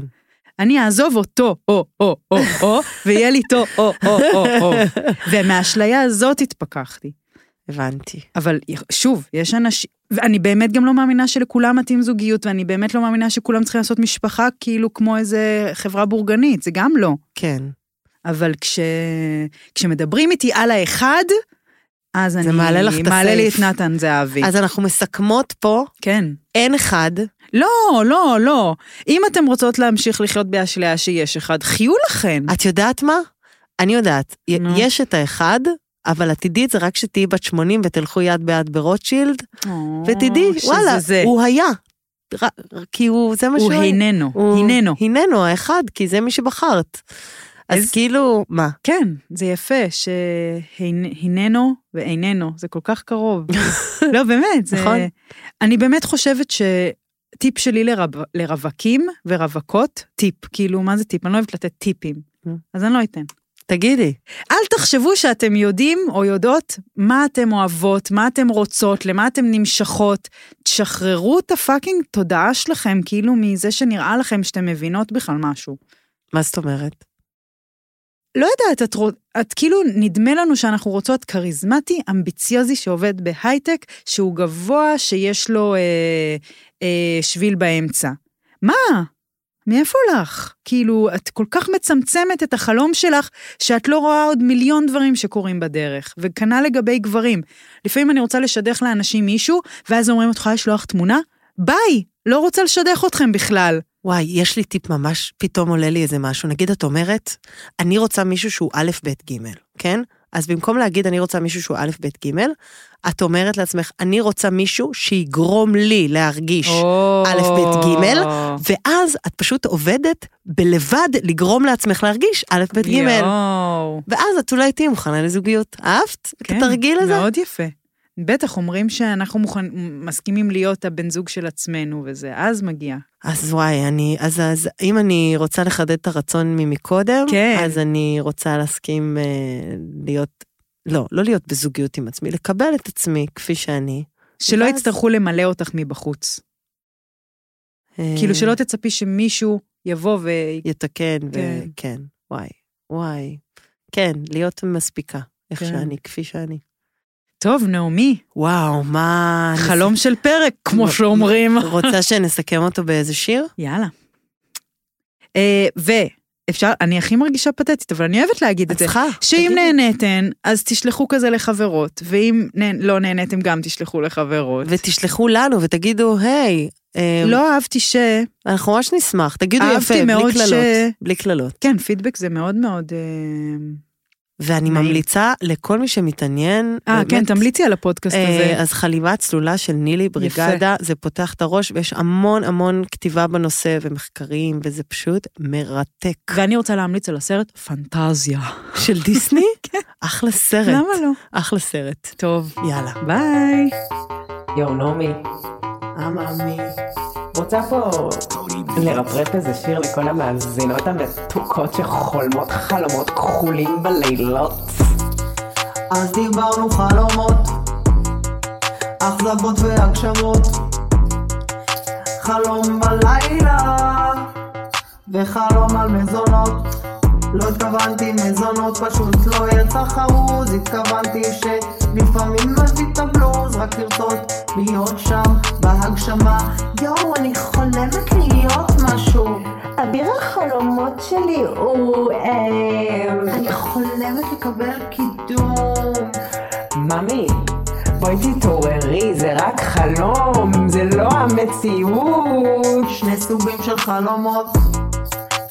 S1: אני אעזוב אותו, או, או, או, או, ויהיה לי אותו, או, או, או, או. ומהאשליה הזאת התפכחתי.
S2: הבנתי.
S1: אבל שוב, יש אנשים, ואני באמת גם לא מאמינה שלכולם מתאים זוגיות, ואני באמת לא מאמינה שכולם צריכים לעשות משפחה כאילו כמו איזה חברה בורגנית, זה גם לא.
S2: כן.
S1: אבל כש... כשמדברים איתי על האחד, אז אני...
S2: מעלה לך את
S1: מעלה לי את
S2: הסעיף.
S1: נתן זהבי. אז...
S2: אז אנחנו מסכמות פה,
S1: כן.
S2: אין אחד,
S1: לא, לא, לא. אם אתם רוצות להמשיך לחיות באשליה שיש אחד, חיו לכן.
S2: את יודעת מה? אני יודעת, י-
S1: נו.
S2: יש את האחד, אבל עתידית זה רק שתהיי בת 80 ותלכו יד ביד ברוטשילד, ותדעי,
S1: שזה
S2: וואלה,
S1: זה.
S2: הוא היה. ר- כי הוא, זה מה
S1: הוא
S2: שהוא היה.
S1: היננו, היננו.
S2: היננו האחד, כי זה מי שבחרת. אז
S1: איזה-
S2: כאילו, מה?
S1: כן, זה יפה שהיננו ואיננו, זה כל כך קרוב. לא, באמת, זה...
S2: נכון.
S1: אני באמת חושבת שטיפ שלי לרב... לרווקים ורווקות, טיפ, כאילו, מה זה טיפ? אני לא אוהבת לתת טיפים,
S2: Mm.
S1: אז אני לא אתן.
S2: תגידי.
S1: אל תחשבו שאתם יודעים או יודעות מה אתם אוהבות, מה אתם רוצות, למה אתם נמשכות. תשחררו את הפאקינג תודעה שלכם, כאילו, מזה שנראה לכם שאתם מבינות בכלל משהו.
S2: מה זאת אומרת?
S1: לא יודעת, את, רוצ- את כאילו, נדמה לנו שאנחנו רוצות כריזמטי, אמביציוזי שעובד בהייטק, שהוא גבוה, שיש לו אה, אה, שביל באמצע. מה? מאיפה לך? כאילו, את כל כך מצמצמת את החלום שלך, שאת לא רואה עוד מיליון דברים שקורים בדרך. וכנ"ל לגבי גברים. לפעמים אני רוצה לשדך לאנשים מישהו, ואז אומרים, את יכולה לשלוח תמונה? ביי! לא רוצה לשדך אתכם בכלל.
S2: וואי, יש לי טיפ ממש, פתאום עולה לי איזה משהו. נגיד את אומרת, אני רוצה מישהו שהוא א', ב', ג', כן? אז במקום להגיד אני רוצה מישהו שהוא א', ב', ג', את אומרת לעצמך, אני רוצה מישהו שיגרום לי להרגיש. א', ב', ג', ואז את פשוט עובדת בלבד לגרום לעצמך להרגיש א', ב', ג'.
S1: יואו.
S2: ואז את אולי תהיי מוכנה לזוגיות. אהבת את התרגיל הזה?
S1: כן, מאוד יפה. בטח אומרים שאנחנו מוכנ... מסכימים להיות הבן זוג של עצמנו וזה, אז מגיע.
S2: אז וואי, אני, אז, אז אם אני רוצה לחדד את הרצון ממקודם,
S1: כן.
S2: אז אני רוצה להסכים אה, להיות, לא, לא להיות בזוגיות עם עצמי, לקבל את עצמי כפי שאני.
S1: שלא
S2: ואז-
S1: יצטרכו למלא אותך מבחוץ.
S2: אה,
S1: כאילו שלא תצפי שמישהו יבוא ו...
S2: יתקן,
S1: כן.
S2: ו- כן, וואי, וואי. כן, להיות מספיקה, איך
S1: כן.
S2: שאני, כפי שאני.
S1: טוב, נעמי,
S2: וואו, מה...
S1: חלום של פרק,
S2: לא,
S1: כמו שאומרים.
S2: נס- רוצה שנסכם אותו באיזה שיר?
S1: יאללה. אה, ואפשר, אני הכי מרגישה פתטית, אבל אני אוהבת להגיד
S2: את
S1: את זה.
S2: צריכה.
S1: אוקיי. שאם
S2: תגידי.
S1: נהניתן, אז תשלחו כזה לחברות, ואם נהנ- לא נהניתם, גם תשלחו לחברות.
S2: ותשלחו לנו ותגידו, היי, אה,
S1: לא אהבתי ש...
S2: אנחנו ממש נשמח, תגידו
S1: אהבתי
S2: יפה, בלי
S1: מאוד ש-
S2: קללות, בלי קללות.
S1: כן, פידבק זה מאוד מאוד... אה,
S2: ואני
S1: נעים.
S2: ממליצה לכל מי שמתעניין.
S1: אה,
S2: באמת,
S1: כן, תמליצי על הפודקאסט
S2: אה,
S1: הזה.
S2: אז חליבה צלולה של נילי בריגדה, זה פותח את הראש, ויש המון המון כתיבה בנושא ומחקרים, וזה פשוט מרתק.
S1: ואני רוצה להמליץ על הסרט פנטזיה.
S2: של דיסני? כן. אחלה סרט.
S1: למה לא?
S2: אחלה סרט.
S1: טוב,
S2: יאללה.
S1: ביי.
S4: יואו, נעמי,
S2: אמאמי.
S4: רוצה פה לרפרף איזה שיר לכל המאזינות המתוקות שחולמות חלומות כחולים בלילות?
S5: אז דיברנו חלומות, אכזבות והגשמות, חלום בלילה, וחלום על מזונות. לא התכוונתי מזונות, פשוט לא יצא חרוז, התכוונתי שלפעמים מביא את הבלוז, רק לרצות להיות שם בהגשמה. יואו, אני חולמת להיות משהו.
S6: אביר החלומות שלי הוא... אה,
S5: אני חולמת לקבל קידום.
S4: ממי, בואי תתעוררי, זה רק חלום, זה לא המציאות.
S5: שני סוגים של חלומות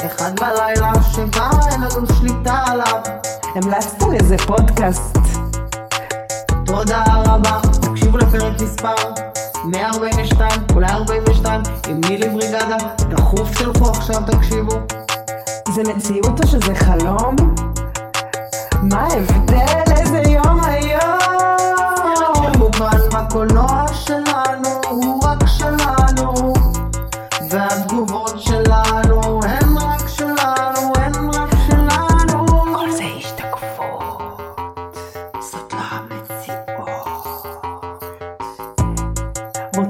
S5: אחד בלילה שבה אין לנו שליטה עליו
S4: המלצת על איזה פודקאסט.
S5: תודה רבה תקשיבו לפרק מספר 142, אולי 42 עם נילי בריגדה דחוף תלכו עכשיו תקשיבו
S4: זה מציאות או שזה חלום? מה ההבדל? איזה יום היום?
S5: כמובן הקולנוע שלנו הוא רק שלנו והתגובות שלנו הן רק שלנו, הן רק שלנו
S4: זה השתקפות.
S1: לא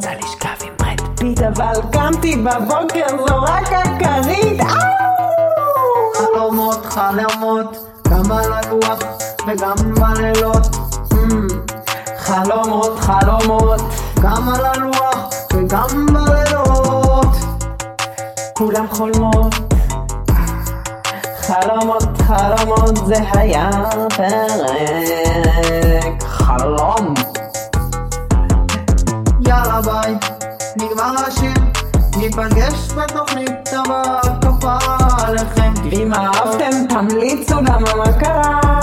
S1: אבל קמתי בבוקר זו רק הכרית, אה! אאו!
S5: חלומות, חלומות,
S1: גם על הלוח וגם בלילות. Mm, חלומות, חלומות,
S5: גם על הלוח וגם בלילות.
S1: כולם חולמות. חלומות, חלומות, זה היה פרק חלום.
S5: יאללה ביי, נגמר השיר, ניפגש בתוכנית הבאה, כפה עליכם.
S1: אם אהבתם תמליצו למה מה קרה Oh,